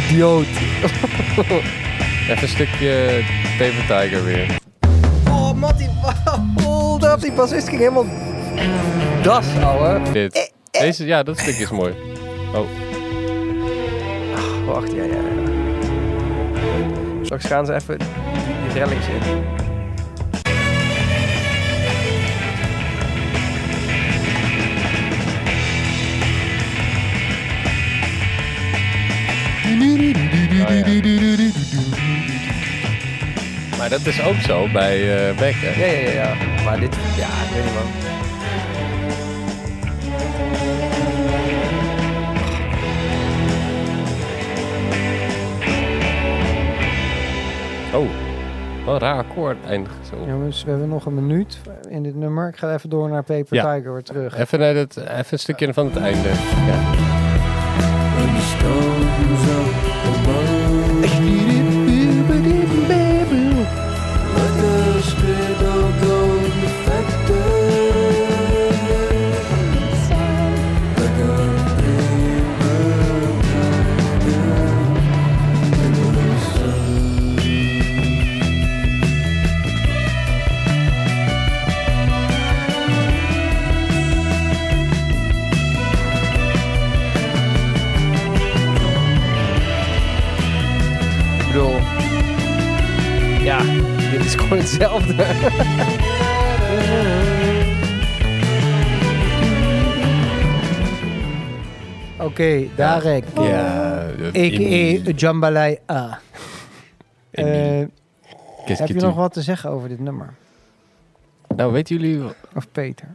S5: Idioot.
S2: Even een stukje Paper Tiger weer.
S5: oh, Matty, wow. dat die bassist ging helemaal... Das, ouwe.
S2: Dit.
S5: eh.
S2: Deze, ja, dat stukje is mooi. Oh.
S5: Wacht, ja, ja, ja. Straks gaan ze even die rellings in.
S2: Maar dat is ook zo bij eh Beck, hè?
S5: Ja, ja, ja, ja. Maar dit, ja, ik weet niet, man.
S2: Oh, wat een raar akkoord eindigt zo.
S3: Jongens, we hebben nog een minuut in dit nummer. Ik ga even door naar Paper
S2: Ja.
S3: Tiger weer terug.
S2: Even, naar het, even een stukje van het einde. Ja.
S5: Ik bedoel... Ja, dit is gewoon hetzelfde.
S3: Oké, Darek.
S2: Ja,
S3: A.k.a. Jambalaya. A.
S2: Emmy.
S3: heb je nog wat te zeggen over dit nummer?
S2: Nou, weten jullie,
S3: Of Peter?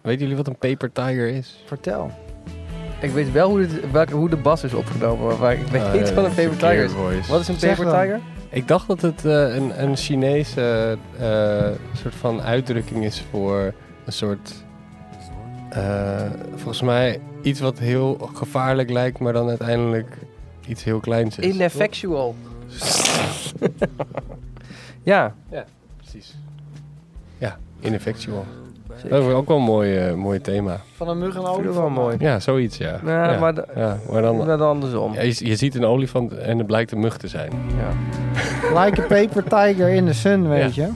S2: weten jullie wat een Paper Tiger is?
S3: Vertel.
S5: ik weet wel hoe, dit, welke, hoe de bas is opgenomen, maar waar- ik weet
S2: Ah,
S5: niet
S2: ja,
S5: wat een
S2: dat is
S5: Paper Tiger is.
S2: Gearboys.
S5: Wat is een
S3: Zeg
S5: Paper
S3: dan.
S5: Tiger?
S2: Ik dacht dat het eh, een, een Chinese eh, soort van uitdrukking is voor een soort. eh, volgens mij iets wat heel gevaarlijk lijkt, maar dan uiteindelijk iets heel kleins is.
S5: Ineffectual. ja,
S2: Precies. Ja, ineffectual. Dat is ook wel een mooi, eh, mooi thema.
S3: Van een mug en
S5: vind ik wel mooi.
S2: Ja, zoiets, ja.
S5: Nou,
S2: Oh, ja,
S5: maar de-
S2: ja, maar dan.
S5: Net andersom.
S2: ja, je, je ziet een olifant en het blijkt een mug te zijn.
S5: Ja.
S3: Like a Paper Tiger in the sun, weet je.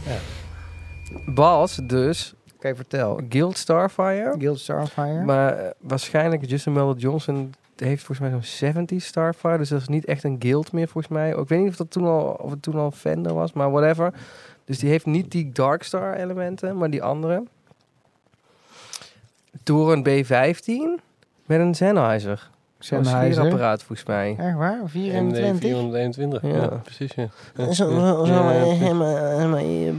S5: Bas, dus,
S3: Oké, vertel.
S5: Guild Starfire.
S3: Guild Starfire.
S5: Maar eh, waarschijnlijk Justin Mel Johnson heeft volgens mij zo'n 70 Starfire. Dus dat is niet echt een guild meer volgens mij. Ik weet niet of, dat toen al, of het toen al Fender was, maar whatever. Dus die heeft niet die Dark Star elementen, maar die andere. Toren B15 met een Sennheiser. Zo'n
S3: Sennheiser.
S5: sfeerapparaat volgens mij.
S3: Echt waar? 24?
S2: 421. Ja.
S5: Ja.
S2: precies. Ja. En,
S5: Je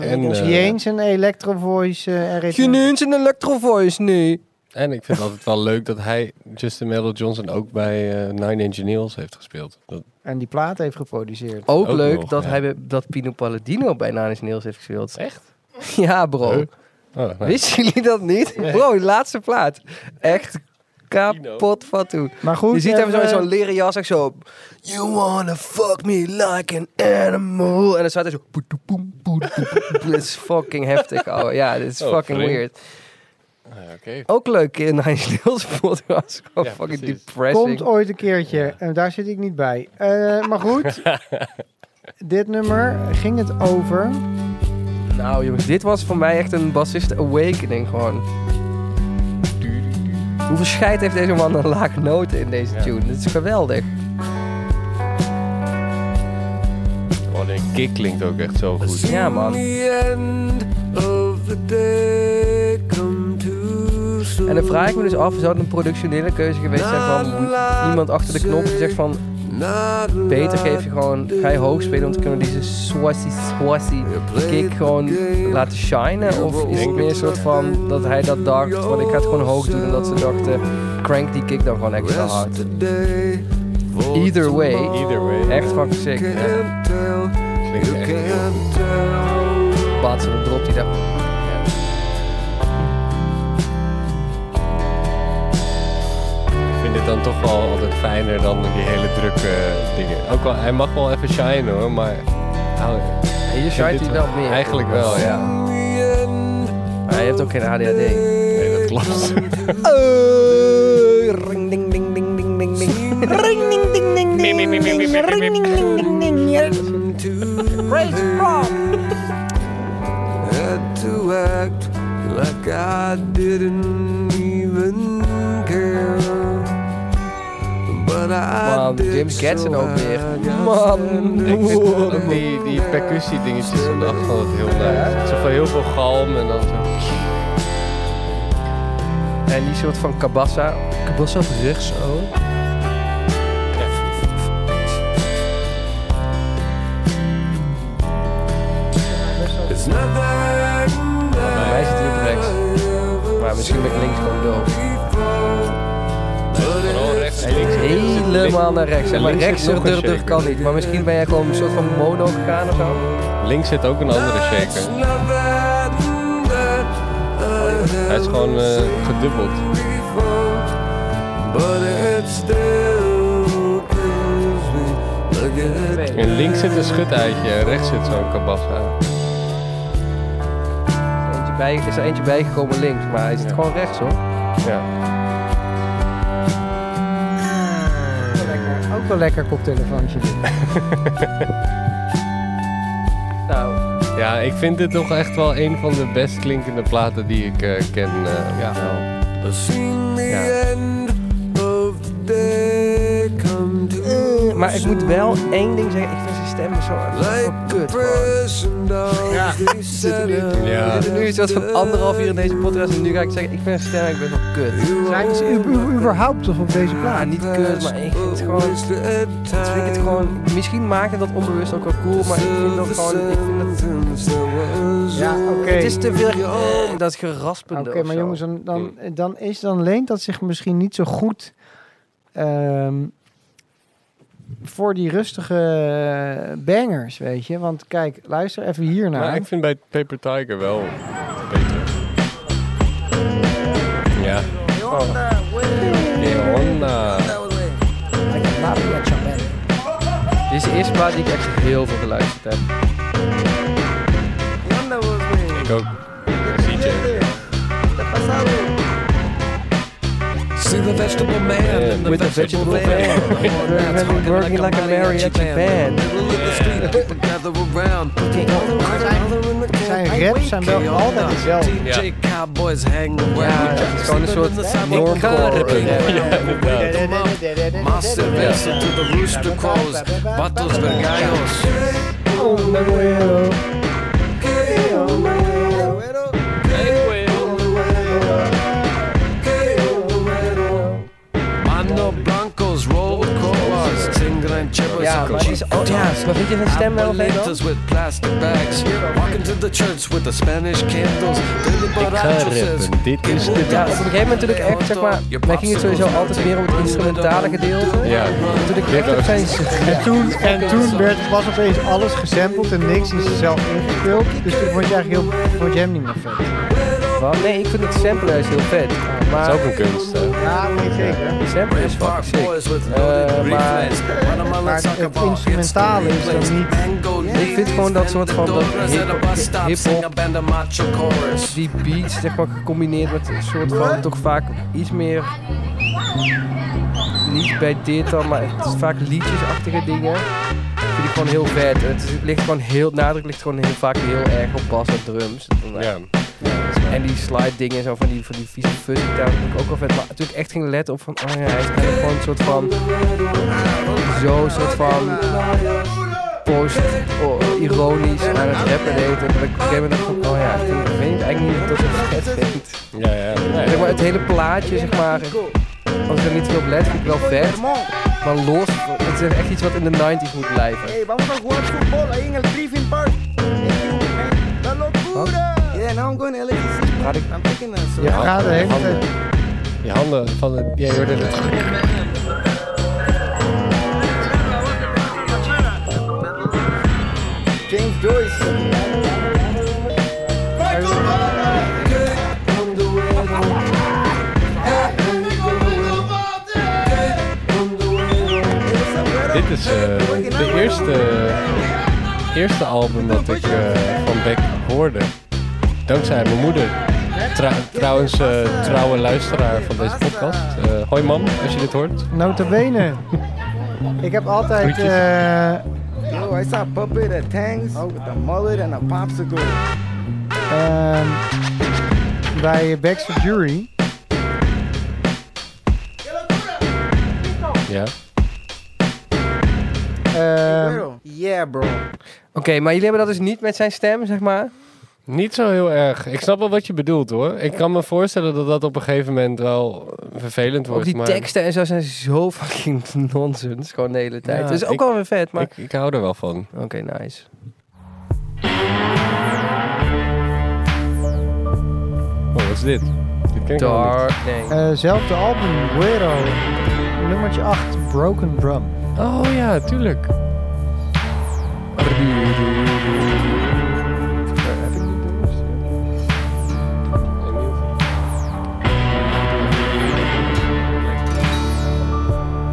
S2: eh,
S3: Die eens een Electro Voice eh, RT.
S5: neemt een electro voice nu.
S2: En ik vind het altijd wel leuk dat hij Justin Metal Johnson ook bij eh, Nine Inch Nails heeft gespeeld. Dat,
S3: En die plaat heeft geproduceerd.
S5: Ook,
S2: Ook
S5: leuk
S2: nog,
S5: dat
S2: ja.
S5: hij bij- dat Pino Palladino bij Nanis Neels heeft gespeeld.
S2: Echt?
S5: Ja, bro.
S2: Huh? oh, nee.
S5: Wisten jullie dat niet? Bro, die laatste plaat. Echt kapot van toe.
S3: Maar goed. eh,
S5: Je ziet hem zo in
S3: even-
S5: zo'n leren jas, echt zo... You wanna fuck me like an animal. En dan staat hij zo... poedoe, poem, poedoe, poem. Dit is fucking heftig, ouwe. Ja, dit is
S2: Oh,
S5: fucking
S2: vreemd.
S5: weird.
S2: Ah, Oké.
S5: Ook leuk in Nine Nails podcast. Gewoon
S2: Ja,
S5: fucking
S2: precies.
S5: depressing.
S3: Komt ooit een keertje. En daar zit ik niet bij. Eh, maar goed. dit nummer ging het over.
S5: Nou jongens, dit was voor mij echt een bassist awakening gewoon. Hoeveel scheid heeft deze man een lage noten in deze tune? Dit is geweldig.
S2: Oh, de kick klinkt ook echt zo goed.
S5: Ja man. En dan vraag ik me dus af, zou het een productionele keuze geweest zijn van moet iemand achter de knop die zegt van beter geef je gewoon, ga je hoog spelen om te kunnen deze swassie swassie kick gewoon laten shinen? Of is het meer een soort van dat hij dat dacht van ik ga het gewoon hoog doen en dat ze dachten crank die kick dan gewoon extra hard. Either way,
S2: Either way.
S5: echt fucking sick.
S2: Ja. Klinkt echt heel goed.
S5: Plaatsen, dan dropt hij daar.
S2: Ik vind vind dit dan toch wel altijd fijner dan die hele drukke eh, dingen. Ook al, hij mag wel even shine hoor, maar... Nou,
S5: je shined hij wel meer.
S2: Eigenlijk wel, ja.
S5: Maar je hebt ook geen ADHD.
S2: Nee, dat klopt.
S5: Eh, ring ding ding ding ding ding ding. Ring ding ding ding ding ding ding. Ring ding ding ding ding ding. Praise God.
S4: had to act like I didn't even care. But I
S5: Man,
S4: did
S5: James Gatson
S4: so
S5: ook weer.
S4: I got
S5: Man.
S4: standing
S2: Ik vind ook die, die percussie dingetjes van de achtergrond heel leuk. Zo van heel veel galm en dan zo...
S5: En die soort van kabassa. Kabassa op rechts, oh.
S4: It's nothing
S5: Bij mij zit hij op rechts. Maar misschien met links gewoon door.
S2: Vooral Oh, rechts en links.
S5: Helemaal naar rechts. En maar
S2: Links zit nog een
S5: rechtsdurdig
S2: shaker.
S5: kan niet. Maar misschien ben jij gewoon een soort van mono gegaan of zo.
S2: Links zit ook een andere shaker. Hij is gewoon eh, gedubbeld.
S4: But it still kills me. Look at
S2: En links zit een schutuitje en rechts zit zo'n kabassa.
S5: Eentje bij, is er eentje bijgekomen links, maar hij zit gewoon rechts hoor.
S2: Ja.
S5: Ah,
S3: Ook wel lekker koptelefoontje.
S5: Nou,
S2: ja, ik vind dit toch echt wel een van de best klinkende platen die ik eh, ken. eh,
S5: Ja.
S2: wel.
S4: Seen the
S2: Ja.
S4: end of the day come to
S5: Eh, maar ik moet wel één ding zeggen. Ik vind zijn stem zo
S4: like
S5: kut. gewoon.
S4: depression dogs they set up.
S5: We
S2: Ja.
S5: zitten nu iets wat van anderhalf uur in deze podcast en nu ga ik zeggen, ik vind zijn stem ik ben wel kut.
S3: Zijn ze u- u- überhaupt nog op deze
S5: Ja,
S3: plaat?
S5: Ah, niet kut, maar ik vind het gewoon... Ik
S4: Wasted
S5: vind het
S4: time.
S5: gewoon misschien maken dat onbewust ook wel cool, maar ik vind dat gewoon... Ik vind dat,
S4: Since there was
S3: Ja, oké.
S5: het is te veel eh, dat geraspende
S3: Oké,
S5: of
S3: maar
S5: zo.
S3: jongens, dan, dan,
S2: Hmm.
S3: dan, is, dan leent dat zich misschien niet zo goed ehm, voor die rustige bangers, weet je. Want kijk, luister even hiernaar.
S5: Nou,
S2: Maar ik vind bij Paper Tiger wel beter. Ja. Oh. Honda.
S5: Dit is de eerste plaat die ik echt heel veel geluisterd heb.
S2: Ik ook. CJ.
S4: See the vegetable man
S2: Yeah.
S4: and the
S5: With the
S4: vegetable
S5: vegetable man.
S4: man.
S5: Working like a mariachi band.
S4: Middle of the street, people gather around. Put the other other in the
S3: Zijn
S4: camp.
S3: raps zijn wel altijd hetzelfde.
S4: DJ cowboys hang
S5: Ja,
S4: around.
S5: het is gewoon een soort normcore.
S4: normcore.
S5: eh,
S2: Ja, inderdaad.
S4: Master Vessel to the Rooster Crows, Battles Vergallos. Mando Blancos, Roll Colas, Tingran Chivas,
S5: Ja, maar, het is, oh, ja, maar vind je zijn stem wel leuk dan?
S4: Abuelitas with plastic bags, walking to the church with the Spanish candles. Billy Baracho says,
S2: rappen, dit is de
S5: Ja, op een gegeven moment toen ik echt, zeg maar, wij gingen sowieso altijd meer op het instrumentale gedeelte.
S2: Ja.
S5: Toen ik echt op zijn
S3: En toen, en toen werd, was opeens alles gesampled en niks is zelf ingevuld. Dus toen vond je eigenlijk heel, vond je hem niet meer vet.
S5: Wat? Nee, ik vind het sample juist heel vet.
S2: Dat is ook
S5: Maar
S2: een kunst, hè?
S3: Ja, niet zeker.
S5: de sample is fucking
S4: Park
S5: sick.
S4: boys with
S5: Eh,
S4: loaded
S5: maar-
S4: rifles.
S3: Maar het instrumentale is dan niet...
S5: Ik vind gewoon dat soort van dat hip- hip-hop, die beats, zeg maar, gecombineerd met een soort van toch vaak iets meer. Niet bij dit dan, maar het is vaak liedjesachtige dingen. Vind ik gewoon heel vet. En Het, is- het ligt gewoon heel, nadruk ligt gewoon heel vaak heel erg op bas en drums.
S2: Ja.
S5: En die slide dingen zo van die, van die vieze fuzzy daar vond ik ook wel vet. Maar toen ik echt ging letten op van, oh ja, hij is eigenlijk gewoon een soort van, zo soort van post oh, ironisch aan het rappen deed. En dat ik op een gegeven moment dacht van, oh ja, ik vind- ik weet eigenlijk niet of ik dat zo vet vind.
S2: Ja, ja. Nee.
S5: Zeg maar, het hele plaatje, zeg maar, als ik er niet veel op let, vind ik wel vet. Maar los, het is echt iets wat in de 90s moet blijven. Praat ik-
S3: Je gaat de hele tijd...
S2: Die handen van het... Ja, je hoorde het.
S4: Michael
S2: dit is eh, de eerste, eerste album dat ik eh, van Beck hoorde. Dankzij mijn moeder. Trou- trouwens, eh, trouwe luisteraar van deze podcast. Eh, hoi man, als je dit hoort.
S3: Nota bene. Ik heb altijd...
S2: Groetjes.
S3: eh,
S11: Yo, I saw Puppet at Tang's with a mullet and a popsicle.
S3: Ehm, bij Baxter Jury.
S2: Ja.
S11: Yeah, bro.
S5: Oké, maar jullie hebben dat dus niet met zijn stem, zeg maar?
S2: Niet zo heel erg. Ik snap wel wat je bedoelt hoor. Ik kan me voorstellen dat dat op een gegeven moment wel eh, vervelend wordt.
S5: Ook die
S2: maar
S5: teksten en zo zijn zo fucking nonsens. Gewoon de hele tijd.
S2: Ja,
S5: dus ook
S2: ik-
S5: wel weer vet, maar...
S2: Ik, ik hou er wel van.
S5: Oké, nice.
S2: Oh, wat is dit? Dit ken ik helemaal niet.
S5: Daar. Nee.
S3: eh, zelfde album, Guero. Nummertje 8, Broken Drum.
S2: Oh ja, tuurlijk.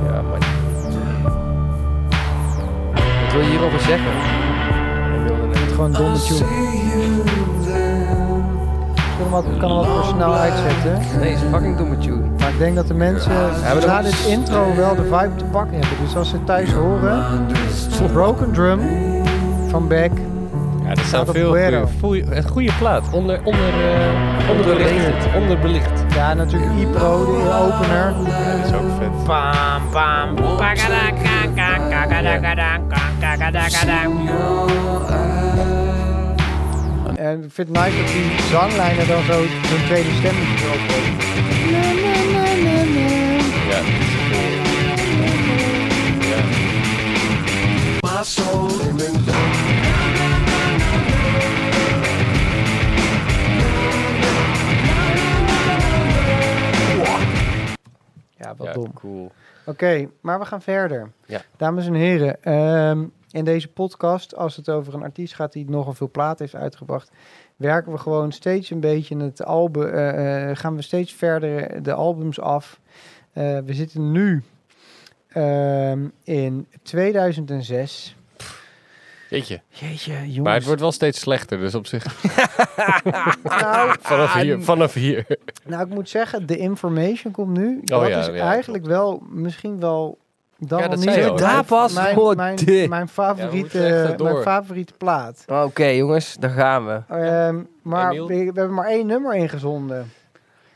S5: Ja, maar... Wat wil je hierover zeggen? Ik wilde net-
S3: Gewoon domme tune. Ik kan hem wat- ik kan hem wat voor snel uitzetten.
S5: Nee, is een fucking domme tune.
S3: Maar ik denk dat de mensen
S5: maar
S3: na
S5: dat-
S3: dit intro wel de vibe te pakken hebben. Dus als ze thuis horen, Broken Drum van Beck.
S2: Ja, er staan
S3: Staat op
S2: veel
S3: Guero.
S2: goede, goede plaat. Onder, onder, eh, onderbelicht. Onderbelicht.
S3: Ja, natuurlijk Ipro, de
S2: Ja,
S3: opener.
S2: dat is ook vet.
S9: Bam, bam.
S3: En ik vind het nice dat die zanglijnen dan zo hun tweede stemmetje erop hebben.
S2: Ja, dat is cool. Ja.
S3: Ja, wat
S2: Ja,
S3: dom.
S2: cool.
S3: Oké, maar we gaan verder.
S2: Ja.
S3: Dames en heren, ehm, in deze podcast, als het over een artiest gaat die nogal veel plaat heeft uitgebracht, werken we gewoon steeds een beetje in het album, eh, eh, gaan we steeds verder de albums af. Eh, we zitten nu ehm, in 2006.
S2: Jeetje.
S3: Jeetje, jongens.
S2: Maar het wordt wel steeds slechter, dus op zich.
S3: nou,
S2: Vanaf hier. Vanaf hier.
S3: nou, ik moet zeggen, de information komt nu. dat
S2: Oh ja,
S3: is
S2: ja,
S3: eigenlijk wel, misschien wel. Dan
S2: Ja, dat
S3: wel
S2: zei je
S3: niet
S2: al.
S5: Daar pas voor
S3: mijn,
S5: dit.
S3: mijn, mijn,
S2: Ja,
S3: favoriete,
S2: we moeten echt door.
S3: mijn favoriete plaat.
S5: Oké, jongens, daar gaan we.
S3: Ehm, maar we,
S2: Emiel?
S3: we hebben maar één nummer ingezonden.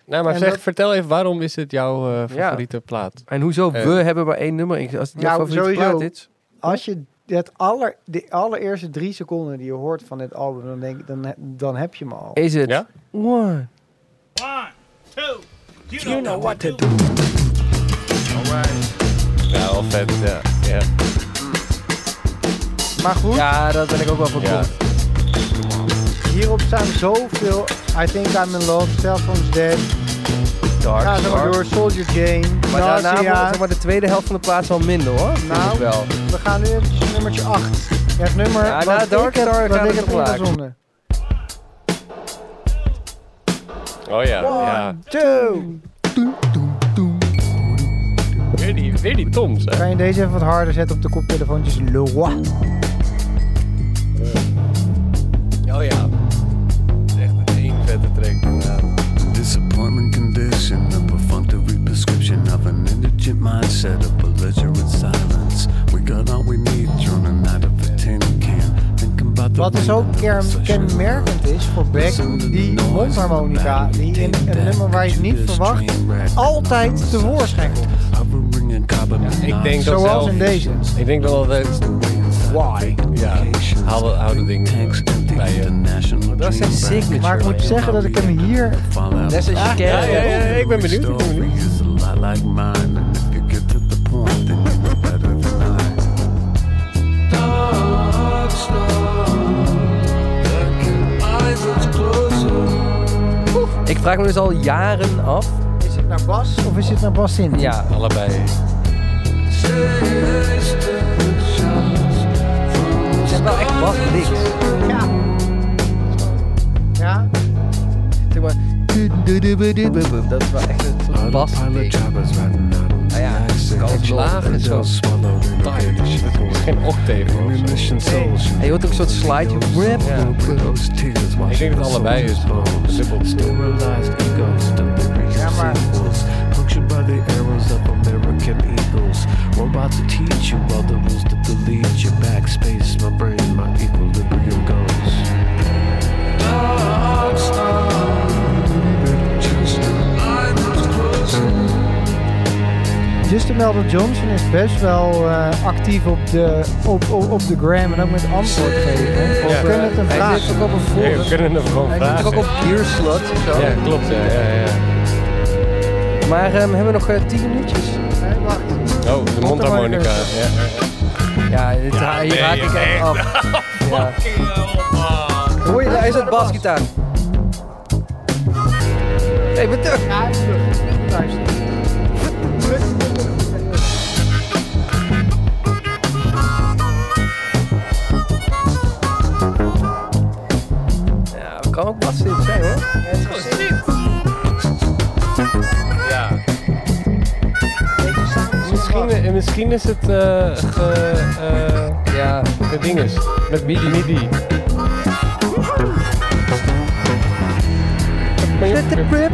S2: Nou, maar
S3: En
S2: zeg,
S3: dat-
S2: vertel even, waarom is dit jouw eh,
S5: Ja.
S2: favoriete plaat?
S5: En hoezo,
S2: Eh.
S5: we hebben maar één nummer. Ik- Als het jouw
S3: Nou,
S5: favoriete
S3: sowieso.
S5: plaat is.
S3: Als je het aller, de allereerste drie seconden die je hoort van dit album, dan, denk, ik, dan, he- dan heb je hem al.
S5: Is het?
S2: Ja?
S5: One.
S9: You know what to do.
S2: Ja, wel vet, ja. Ja,
S3: Maar goed,
S5: Ja, dat ben ik ook wel van
S2: ja.
S5: cool.
S3: hierop staan zoveel. I think I'm in love, Cell Phone's Dead.
S5: Dark,
S3: Ga zo maar
S5: dark.
S3: door, Soldier Game.
S5: Maar daarna wordt
S3: Nausea.
S5: zeg maar, de tweede helft van de plaats wel minder hoor. vind
S3: Nou.
S5: ik wel.
S3: We gaan nu eventjes nummertje 8. Ja, het nummer
S5: Ja, nou,
S3: wat
S5: na
S3: ik
S5: Dark
S3: heb,
S5: Star
S3: wat
S5: gaat
S3: ik
S5: het
S3: heb
S5: omlaag.
S3: ingezonden.
S2: Oh ja, ja.
S3: Two.
S2: Weer die, weer die toms, hè.
S3: Kan je deze even wat harder zetten op de koptelefoontjes? Loa.
S2: Oh ja. Het is echt een één vette track. inderdaad.
S7: Disappointment condition, a perfunctory prescription of an indigent mindset, a belligerent silence. We got all we need during a night of a tin can. Thinking about the
S3: Wat dus ook
S7: wind and the
S3: ker- kenmerkend is voor Beck, die mondharmonica, die in een nummer waar je het niet verwacht, altijd tevoorschijn komt.
S7: Hovering in carbon
S2: Ik denk dat
S3: Zoals
S2: zelf...
S3: in deze.
S2: Ik denk dat altijd... Why? Ja, haal dat oude ding bij eh, je.
S5: Dat is zijn signature.
S3: Maar ik moet zeggen dat ik hem hier...
S7: Fallout.
S5: Net zoals je
S2: Ja, ja,
S5: kent.
S2: ja, ik ben benieuwd, ik ben benieuwd.
S7: is a lot like mine, and if you get to the point, then you know better than I.
S5: Ik vraag me dus al jaren af. nou
S3: Is het naar Bas of is het nou naar Bas Sint?
S5: Ja,
S2: Allebei.
S5: het zijn wel echt wat niks.
S3: Ja. Ja?
S5: Zeg maar. Dat is wel echt een soort bas.
S7: Autopilot drivers riding out in
S5: Ah ja,
S7: the exit.
S2: laag en zo. Geen octave hoor.
S5: Hij hoort ook een soort slide rap.
S2: Ik denk dat het allebei is.
S7: Ja, maar... Punctured by the arrows of American eagles. Robots teach you all the rules that delete your backspace, my brain, my equilibrium goes.
S3: Justin Melder Johnson is best wel eh, actief op de, op, op, op de gram en ook met antwoord geven. We kunnen het hem
S5: Hij
S3: vragen.
S5: zit ook op een
S2: Ja,
S5: forum.
S2: we kunnen hem gewoon
S5: Hij zit
S2: vragen.
S5: ook op Gearslot. Zo.
S2: Ja, klopt. Ja, ja, ja.
S5: Maar ehm, hebben we nog eh, 10 minuutjes?
S2: Oh, de mondharmonica. Ja.
S5: Ja, dit,
S2: Ja,
S5: hier
S2: ben
S5: raak
S2: je
S5: ik echt
S2: echt?
S5: af. Ja. Hoor je, daar is dat basgitaar. hey, wat terug. Ja, we kan ook basgitaar zijn hoor.
S2: Ja. Misschien, eh, misschien is het eh ge, eh ja, de dinges. Met midi. midi.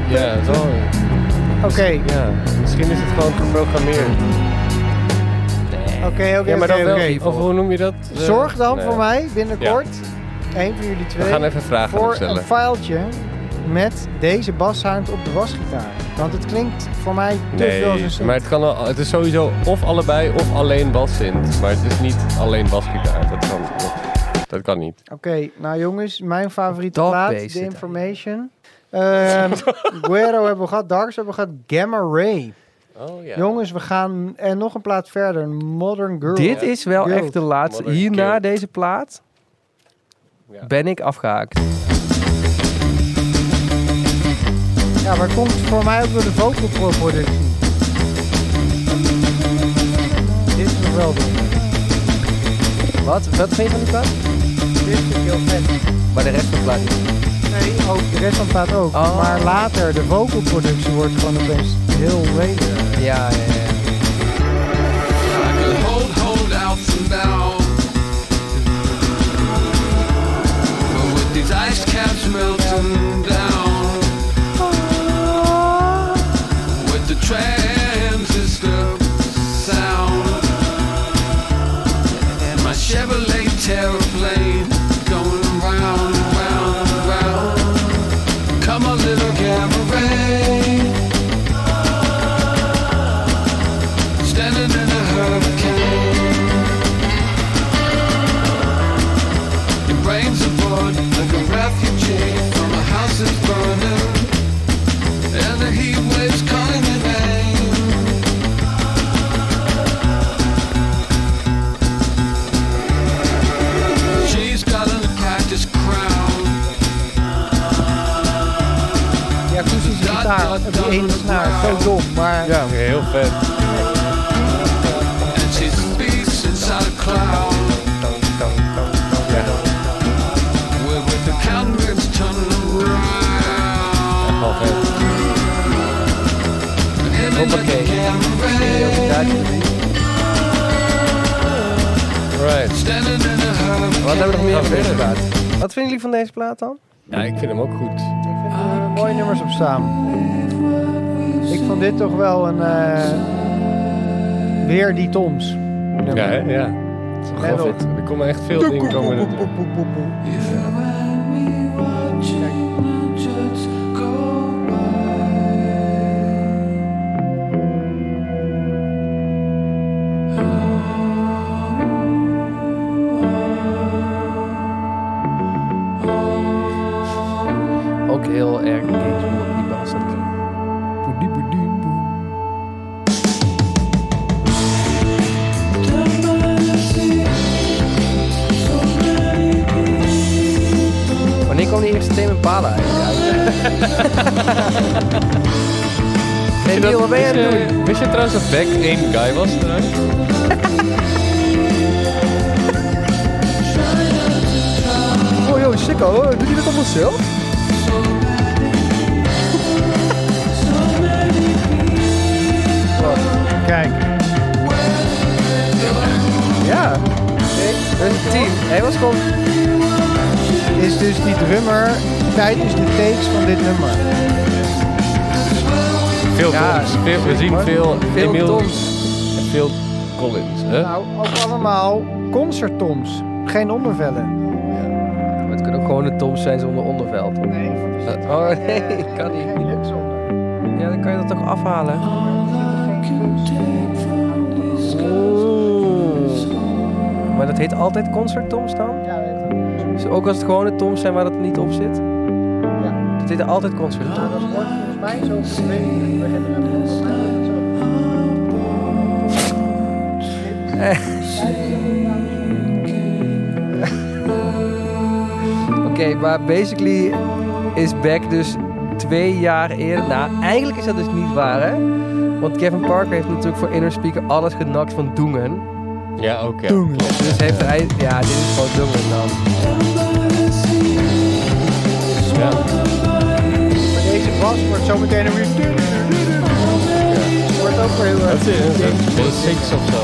S2: Ja, zo.
S3: Oké, oké,
S2: Ja, misschien is het gewoon geprogrammeerd.
S3: oké.
S2: ja, maar dan
S3: oké,
S2: wel.
S3: oké.
S2: Of hoe noem je dat? Eh,
S3: Zorg dan
S2: nee.
S3: voor mij binnenkort, één van jullie twee,
S2: gaan even vragen
S3: voor
S2: opstellen.
S3: een filetje met deze bassound op de wasgitaar. Want het klinkt voor mij te veel als
S2: Nee,
S3: een synth.
S2: maar het, kan wel, het is sowieso of allebei of alleen bassint. Maar het is niet alleen basgitaar. Dat kan, dat, dat kan niet.
S3: Oké, nou jongens, mijn favoriete
S5: Dog
S3: plaat,
S5: Days
S3: The
S5: zit
S3: Information. Ehm Guero hebben we gehad, Darks hebben we gehad, Gamma Ray.
S2: Oh ja.
S3: Jongens, we gaan en nog een plaat verder, Modern Girl.
S5: Dit is wel
S3: Girl.
S5: echt de laatste.
S2: Modern
S5: Hierna
S2: Guild.
S5: deze plaat
S2: Ja.
S5: ben ik afgehaakt.
S3: Ja, maar komt voor mij ook door de vocal productie. Dit is nog wel de-
S5: Wat? Wat vind je van die plaat?
S3: Dit is heel vet.
S5: Maar de rest van de plaat niet.
S3: Nee, ook de rest van de plaat ook.
S5: Oh.
S3: Maar later, de vocal productie wordt gewoon opeens heel lelijk.
S5: Ja, ja, ja.
S4: Hold, hold out and down. But with these ice caps melting down. With the transistor sound. And my Chevrolet Terraplane going round and round and round. Come a little cabaret. Standing in a hurricane. Your brain's aboard like a refugee from a house that's burning. And the heat waves calling your name. She's got a cactus crown.
S3: Ja, akoestische gitaar op die ene snaar. Zo dom, maar...
S2: Ja, heel vet.
S4: And she speaks inside a cloud. With, with the counting rings turning around.
S2: Wel vet.
S5: Hoppakee.
S2: Right.
S4: Standing in a hurricane.
S5: Wat hebben we nog meer
S2: Gaan
S5: van
S2: we
S5: deze
S2: verder.
S5: plaat? Wat vinden jullie van deze plaat dan?
S2: Ja, ik vind hem ook goed.
S3: mooie nummers op staan. Ik vond dit toch wel een. eh, weer die Toms.
S2: Ja, hè? Ja.
S3: Let
S2: Love
S3: op.
S2: it. Er komen echt veel dingen komen er terug.
S5: Ook heel erg engagement op die bas. Boedi, boedi, boe. Wanneer kwam die eerste thema Pala eigenlijk uit? hey Neil, wat ben jij aan het doen?
S2: Wist je trouwens dat Beck één guy was trouwens?
S5: Oh joh, sicko, doet hij dit allemaal zelf?
S3: Kijk. Hij was gewoon... Is dus die drummer tijdens de takes van dit nummer.
S2: Veel Toms. Veel, we zien veel,
S3: Veel
S2: Emil
S3: Toms.
S2: en veel Collins. Hè?
S3: Nou, ook allemaal concerttoms. Geen ondervellen.
S5: Maar eh, het kunnen ook gewoon de Toms zijn zonder onderveld.
S3: Nee.
S5: oh nee, kan niet. Ja, dan kan je dat toch afhalen. Oeh. Maar dat heet altijd concert Toms dan?
S3: Ja,
S5: Dus ook als het gewone Toms zijn waar dat niet op zit? Ja. Dat heet altijd concert Toms.
S3: Volgens mij zo
S5: Oké, maar basically is Beck dus twee jaar eerder. Nou, eigenlijk is dat dus niet waar, hè? Want Kevin Parker heeft natuurlijk voor Inner Speaker alles genakt van Doengen.
S2: Ja, ook ja.
S5: Dus heeft hij. Ja, dit is gewoon Doengen dan.
S3: Deze bas wordt zo meteen een weer... Wordt ook weer heel erg...
S2: Dat is basics of zo.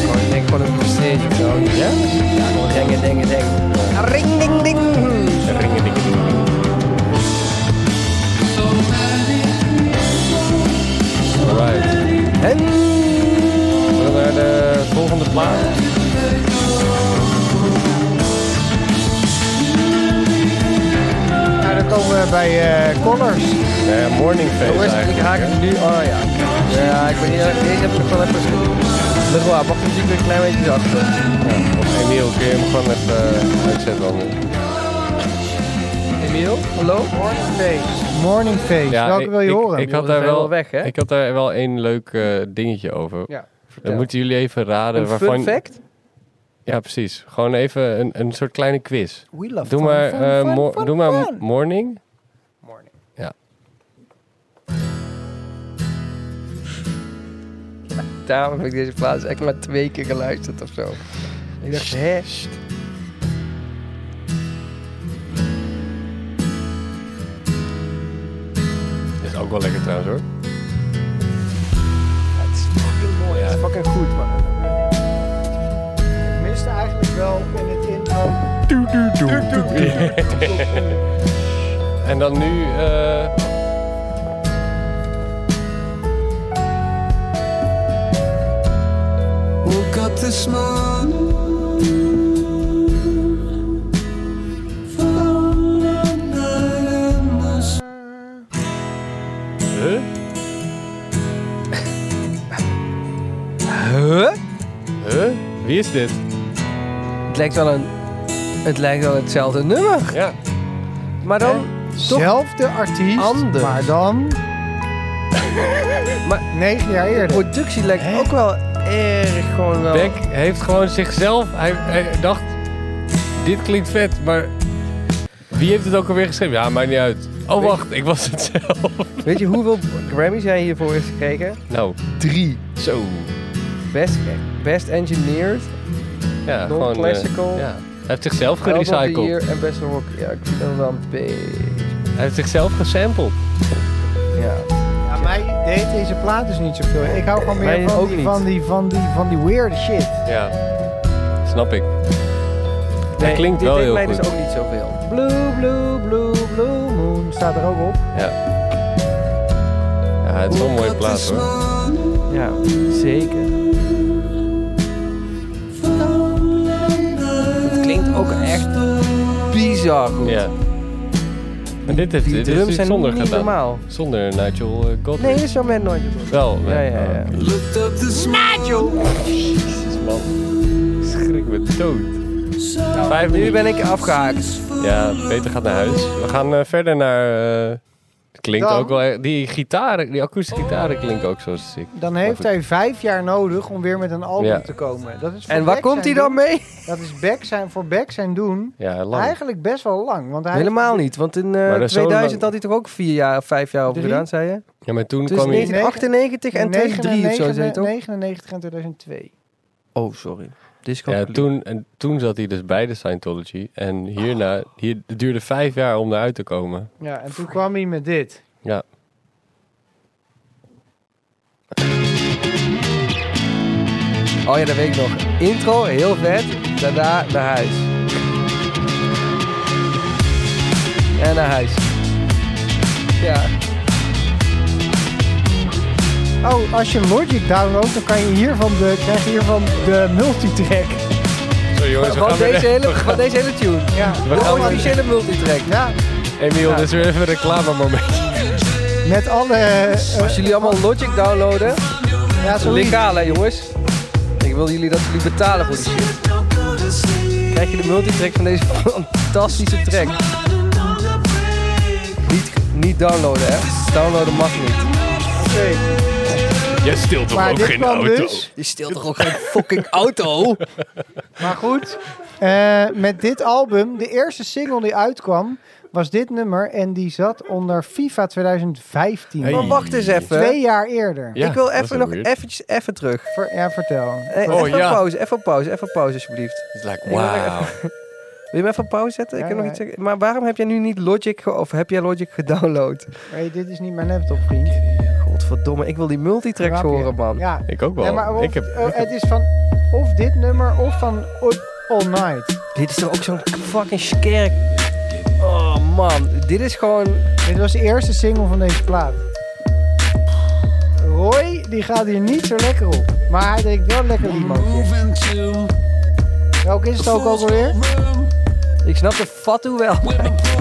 S5: Gewoon, ik denk gewoon een prestige of zo. Ja? Ja, gewoon dingen, dingen, dingen.
S3: Ring, ding, ding.
S2: Alright.
S5: En?
S2: We gaan naar de volgende plaat.
S3: Nou, dan komen we bij eh, Connors.
S2: Eh, morning Face
S5: Jongens, ik
S2: eigenlijk.
S5: haak het nu. Oh ja. Ja, ik weet niet. eh, Deze heb ik nog wel even gezien. Dat is waar, mag de muziek weer een klein beetje zachter.
S2: Of Emiel, kun je hem gewoon even eh, uitzetten dan?
S5: Emiel, hallo?
S3: Morning Face. Morning Face. Welke
S2: ik-
S3: wil je
S2: ik,
S3: horen?
S2: Ik had, daar wel,
S5: weg, hè?
S2: ik had daar wel één leuk eh, dingetje over.
S3: Ja,
S2: Dan moeten jullie even raden
S5: Een
S2: waarvan...
S5: fun fact?
S2: Ja, precies. Gewoon even een, een soort kleine quiz.
S3: We love
S2: doe
S3: fun,
S2: maar,
S3: fun,
S2: eh,
S3: fun,
S2: mo-
S3: fun,
S2: doe maar
S3: fun.
S2: morning.
S5: Daarom heb ik deze plaats echt maar twee keer geluisterd of zo. Ik dacht, hè?
S2: Is ook wel lekker trouwens hoor.
S5: Het is fucking mooi, het is fucking goed, man.
S3: Ik miste eigenlijk wel in het intro...
S2: En dan nu... eh,
S4: Woke up this morning, found a night in the sun.
S2: huh?
S5: Huh?
S2: Huh? Wie is dit?
S5: Het lijkt wel een... Het lijkt wel hetzelfde nummer.
S2: Ja.
S5: Maar dan... Toch
S3: Zelfde artiest,
S5: Anders.
S3: maar dan...
S5: Maar-
S3: Negen jaar
S5: de
S3: eerder.
S5: productie lijkt ook wel erg gewoon wel...
S2: Beck heeft gewoon zichzelf... Hij, hij dacht, dit klinkt vet, maar... Wie heeft het ook alweer geschreven? Ja, maakt niet uit. Oh, wacht, ik was het zelf.
S5: Weet je hoeveel Grammys hij hiervoor heeft gekregen?
S2: Nou,
S5: Drie.
S2: zo.
S5: Best, best Engineered,
S2: Ja, gewoon... eh,
S5: Non-classical.
S2: ja. Hij heeft zichzelf
S5: Album of the
S2: gerecycled.
S5: Year en Best Rock. Ja, ik vind dat wel een beetje...
S2: Hij heeft zichzelf gesampled.
S5: Ja.
S3: Ja, mij deed deze plaat dus niet zoveel. Ik hou gewoon
S5: Mij
S3: meer van
S5: ook
S3: die,
S5: niet.
S3: van, die, van, die, van die weird shit.
S2: Ja, snap ik. Hij
S5: Nee,
S2: klinkt
S5: dit
S2: wel
S5: deed
S2: heel
S5: mij
S2: goed.
S5: dus ook niet zoveel.
S3: Blue, blue, blue, blue moon staat er ook op.
S2: Ja. ja, het is wel een mooie plaat hoor.
S5: Ja, zeker. Het klinkt ook echt bizar goed.
S2: Ja. En dit heeft
S5: Die
S2: dit
S5: drums
S2: is
S5: zijn
S2: zonder
S5: niet
S2: gedaan.
S5: normaal.
S2: Zonder Nigel eh, Godwin.
S5: Nee, zo met nooit.
S2: Wel.
S5: Ja, ja, ja.
S2: oh, oké.
S4: Looked up this
S2: Jezus, man. Ik Schrik me dood. Vijf
S5: Nu
S2: minuten.
S5: ben ik afgehaakt.
S2: Ja, Peter gaat naar huis. We gaan eh, verder naar... eh, het klinkt
S3: Dan.
S2: ook wel... e- Die gitaren, die akoestische gitaren klinken ook zo sick.
S3: Dan heeft
S2: goed.
S3: hij vijf jaar nodig om weer met een album
S2: Ja.
S3: te komen. Dat is voor
S5: En waar
S3: Beck
S5: komt hij
S3: zijn
S5: dan mee?
S3: doen- Dat is Beck zijn, voor Beck zijn doen
S2: Ja, lang.
S3: eigenlijk best wel lang. Want hij
S5: Helemaal niet, want in eh,
S2: Maar dat is zo
S5: 2000
S2: lang.
S5: had hij toch ook vier jaar of vijf jaar over
S3: Drie?
S5: gedaan, zei je?
S2: Ja, maar toen
S5: Tussen
S2: kwam je...
S5: 1998 en 2003 of zo, zei je toch?
S3: 99 en 2002.
S5: Oh, sorry. Disco.
S2: Ja, toen, en toen zat hij dus bij de Scientology. En hierna... Hier, het duurde vijf jaar om eruit te komen.
S3: Ja, en toen kwam hij met dit.
S2: Ja.
S5: Oh ja, dat weet ik nog. Intro, heel vet. Daarna naar huis. En naar huis. Ja.
S3: Oh, als je Logic downloadt, dan kan je hiervan de, krijg je hiervan de multitrack.
S2: Zo jongens, we
S5: Van
S2: gaan weer
S5: deze, hele,
S2: we gaan-
S5: van deze hele tune.
S3: Ja.
S5: De
S2: gaan weer-
S5: officiële multitrack.
S3: Oh, Ja.
S2: Emiel, dit is weer even een reclamemoment.
S3: Met alle... eh,
S5: Als jullie allemaal Logic downloaden.
S3: Ja, zoiets.
S5: Legaal hè jongens. Ik wil jullie dat jullie betalen voor die shit. Krijg je de multitrack van deze fantastische track. Niet, niet downloaden hè. Downloaden mag niet.
S3: Oké.
S2: Jij stilt toch
S3: Maar
S2: ook
S3: dit
S2: geen
S3: kwam
S2: auto?
S3: dus.
S5: Je steelt toch ook geen fucking auto?
S3: Maar goed, eh, met dit album, de eerste single die uitkwam, was dit nummer. En die zat onder FIFA 2015.
S5: Maar wacht eens even.
S3: Twee jaar eerder.
S2: Ja,
S5: ik wil
S2: dat is
S5: even
S2: wel
S5: nog
S2: weird.
S5: eventjes even terug.
S3: Ver- ja, vertel.
S5: Eh,
S2: Oh,
S5: even
S2: ja.
S5: pauze, even pauze, even pauze alsjeblieft.
S2: Het lijkt
S5: Ik wil
S2: wauw.
S5: Wil je me even op pauze zetten? Ik
S3: Ja,
S5: heb nog
S3: ja.
S5: iets zeggen. Maar waarom heb jij nu niet Logic ge- of heb jij Logic gedownload?
S3: Hey, dit is niet mijn laptop, vriend.
S5: Godverdomme, ik wil die multitracks
S3: Grapje.
S5: horen man.
S3: Ja,
S2: Ik ook wel.
S3: Nee, maar of-
S2: ik heb,
S3: eh, het is van of dit nummer of van O- All Night.
S5: Dit is toch ook zo'n fucking skerk. Oh man, dit is gewoon.
S3: Dit was de eerste single van deze plaat. Roy, die gaat hier niet zo lekker op. Maar hij drinkt wel lekker iemand. Welke is het ook alweer?
S5: Ik snap de fatu wel.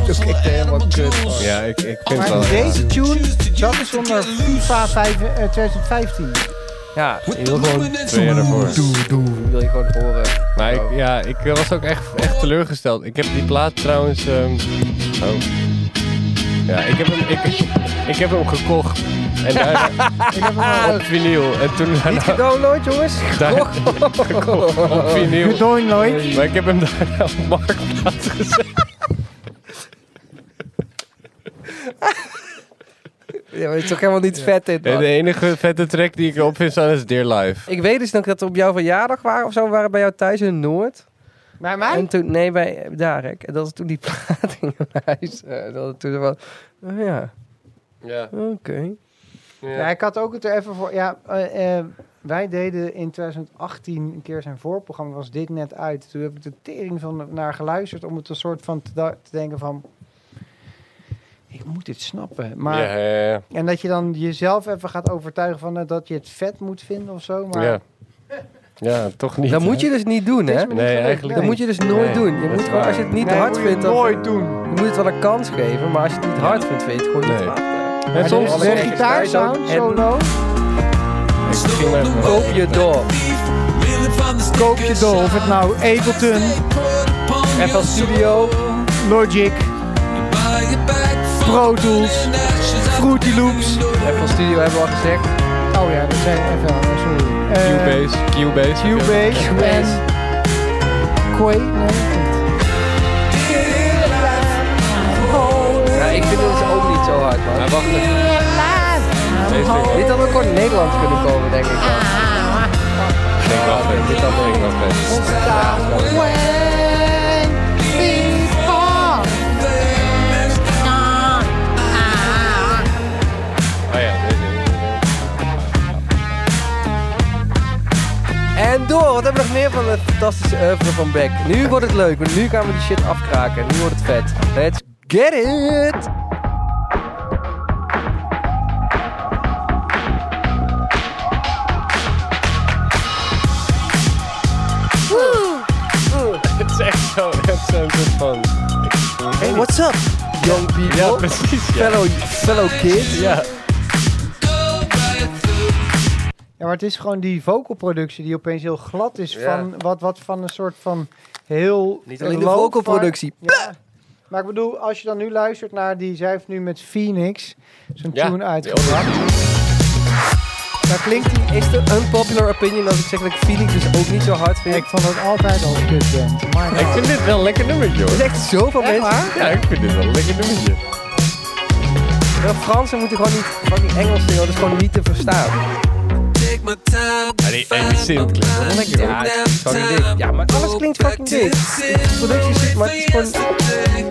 S11: Dus ik ben helemaal kut. van.
S2: ja, ik, ik vind het
S3: Maar
S2: wel.
S3: deze tune zat dus onder FIFA vijf- eh, 2015.
S5: Ja, je wil gewoon.
S2: Twee jaar ervoor.
S5: Wil je gewoon horen.
S2: Maar ik, ja, ik was ook echt, echt teleurgesteld. Ik heb die plaat trouwens. ehm, oh. Ja, ik heb hem, ik, ik heb hem gekocht. En daarna
S3: Ik heb hem al
S2: op vinyl. En toen
S5: Niet
S2: daarna
S5: gedownload jongens.
S2: Daar-
S5: Goh.
S2: op vinyl.
S3: gedownload.
S2: Maar ik heb hem daarna op marktplaats gezet.
S5: ja, maar het is toch helemaal niet vet dit
S2: En
S5: man.
S2: de enige vette track die ik erop vind staan is Dear Life.
S5: Ik weet dus nog dat we op jouw verjaardag waren of zo. We waren bij jou thuis in Noord.
S3: Bij mij?
S5: En toen, nee, bij Darek. En dat was toen die plaat in huis. eh, dat het toen was. Oh ja,
S2: Ja.
S5: oké.
S3: Ja, ik had ook het er even voor. Ja, eh, eh, wij deden in 2018 een keer zijn voorprogramma, was dit net uit. Toen heb ik de tering van naar geluisterd om het een soort van te, da- te denken van. Ik moet dit snappen. Maar,
S2: ja, ja, ja.
S3: En dat je dan jezelf even gaat overtuigen van eh, dat je het vet moet vinden of zo. Maar
S2: ja. Ja, toch niet.
S5: Dat
S2: hè?
S5: moet je dus niet doen, hè?
S3: me niet
S2: Nee,
S3: gelukt,
S2: eigenlijk
S5: Dat moet je dus nooit
S2: Nee,
S5: doen. Je
S2: dat is
S5: moet gewoon,
S2: waar.
S5: als je het niet
S3: Nee,
S5: te hard
S3: moet je
S5: vindt, dan
S3: nooit doen.
S5: je moet het wel een kans geven. Maar als je het niet hard vindt, vind je het gewoon
S2: Nee.
S5: niet hard. hè.
S2: En soms
S5: dit
S3: de gitaarsound
S5: En-
S3: solo.
S2: Ik ging maar even-
S3: Eh,
S5: Koop je door.
S3: Koop je door. Of het nou Ableton,
S5: FL Studio.
S3: Logic, Pro Tools, Fruity Loops.
S5: FL Studio hebben we al gezegd.
S3: Oh ja, dat zijn even, sorry. Eh,
S2: Cubase. Cubase.
S3: Cubase en Quake. Nee, niet.
S5: Ja, ik vind dit ook niet zo hard, man.
S2: Maar wacht even. Deze vind ik
S5: Dit had ook gewoon in Nederland kunnen komen, denk ik. man.
S2: Denk wel vet. Dit had ik wel vet. Oh ja, deze.
S5: En door, wat hebben we nog meer van het fantastische oeuvre van Beck? Nu wordt het leuk, want nu gaan we die shit afkraken. Nu wordt het vet. Let's get it!
S2: Het is echt zo. Het is zo'n soort van.
S5: Hey, what's up, young people?
S2: Ja, precies. Ja.
S5: fellow, fellow kids.
S2: Ja.
S3: Ja, maar het is gewoon die vocalproductie die opeens heel glad is van wat, wat van een soort van heel...
S5: Niet alleen de
S3: low-fi-
S5: vocalproductie.
S3: Ja. Maar ik bedoel, als je dan nu luistert naar die... Zij heeft nu met Phoenix zo'n
S2: Ja.
S3: tune uitgebracht.
S5: Daar klinkt die, is de unpopular opinion als ik zeg dat ik Phoenix dus ook niet zo hard vind.
S3: Ik vond het altijd al een kutband. My
S2: Ik
S3: God.
S2: vind dit wel een lekker nummertje
S5: Er
S2: hoor.
S5: zijn echt zoveel mensen.
S2: Ja, ik vind dit wel een lekker nummertje.
S5: De Fransen moeten gewoon niet fucking Engels zingen, dat is gewoon niet te verstaan.
S2: En die, en die synth klinkt wel lekker hoor.
S5: Ja, het is gewoon dik. Ja, maar alles klinkt fucking dik. De productie zit, maar het is gewoon...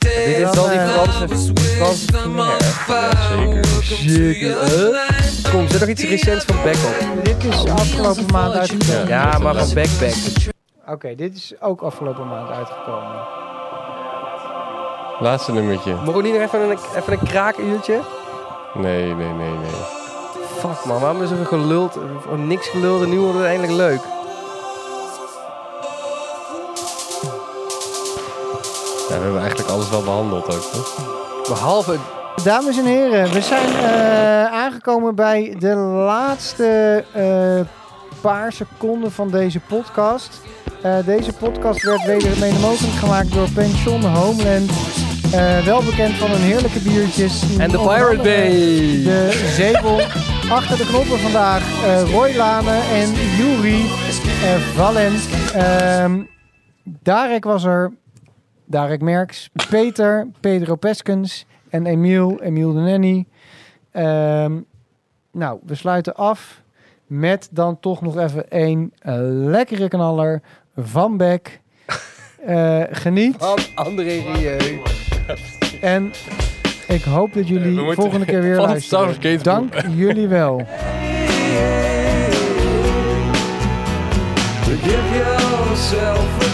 S5: Dit is wel die Franse, Franse knair. Zeker. Zeker. Kom, zit nog iets recents van Beck op?
S3: Dit is afgelopen maand uitgekomen.
S5: Ja, maar van Beck Beck.
S3: Oké, dit is ook afgelopen maand uitgekomen.
S2: Laatste nummertje.
S5: Mogen we niet nog even een, even een kraakuurtje?
S2: Nee, nee, nee, nee.
S5: Fuck man, waarom is er geluld? Of niks geluld en nu wordt het eindelijk leuk.
S2: Ja, we hebben eigenlijk alles wel behandeld ook. Hè?
S5: Behalve...
S3: Dames en heren, we zijn eh, aangekomen bij de laatste eh, paar seconden van deze podcast. Eh, deze podcast werd weder mede mogelijk gemaakt door Pension Homeland. Eh, wel bekend van hun heerlijke biertjes.
S5: En de
S3: Onder
S5: Pirate
S3: andere
S5: Bay.
S3: De Zebel. Achter de knoppen vandaag eh, Roy Lane en Yuri eh, Valent. Ehm, Darek was er. Darek Merks, Peter, Pedro Peskens en Emiel, Emiel de Nenny. Ehm, nou, we sluiten af met dan toch nog even één eh, lekkere knaller van Beck. Eh, geniet.
S5: Van André Rieu.
S3: En ik hoop dat jullie
S5: Eh, moeten-
S3: volgende keer weer
S5: Van het Sound
S3: luisteren.
S5: Gate-
S3: Dank jullie wel.
S4: Give yourself a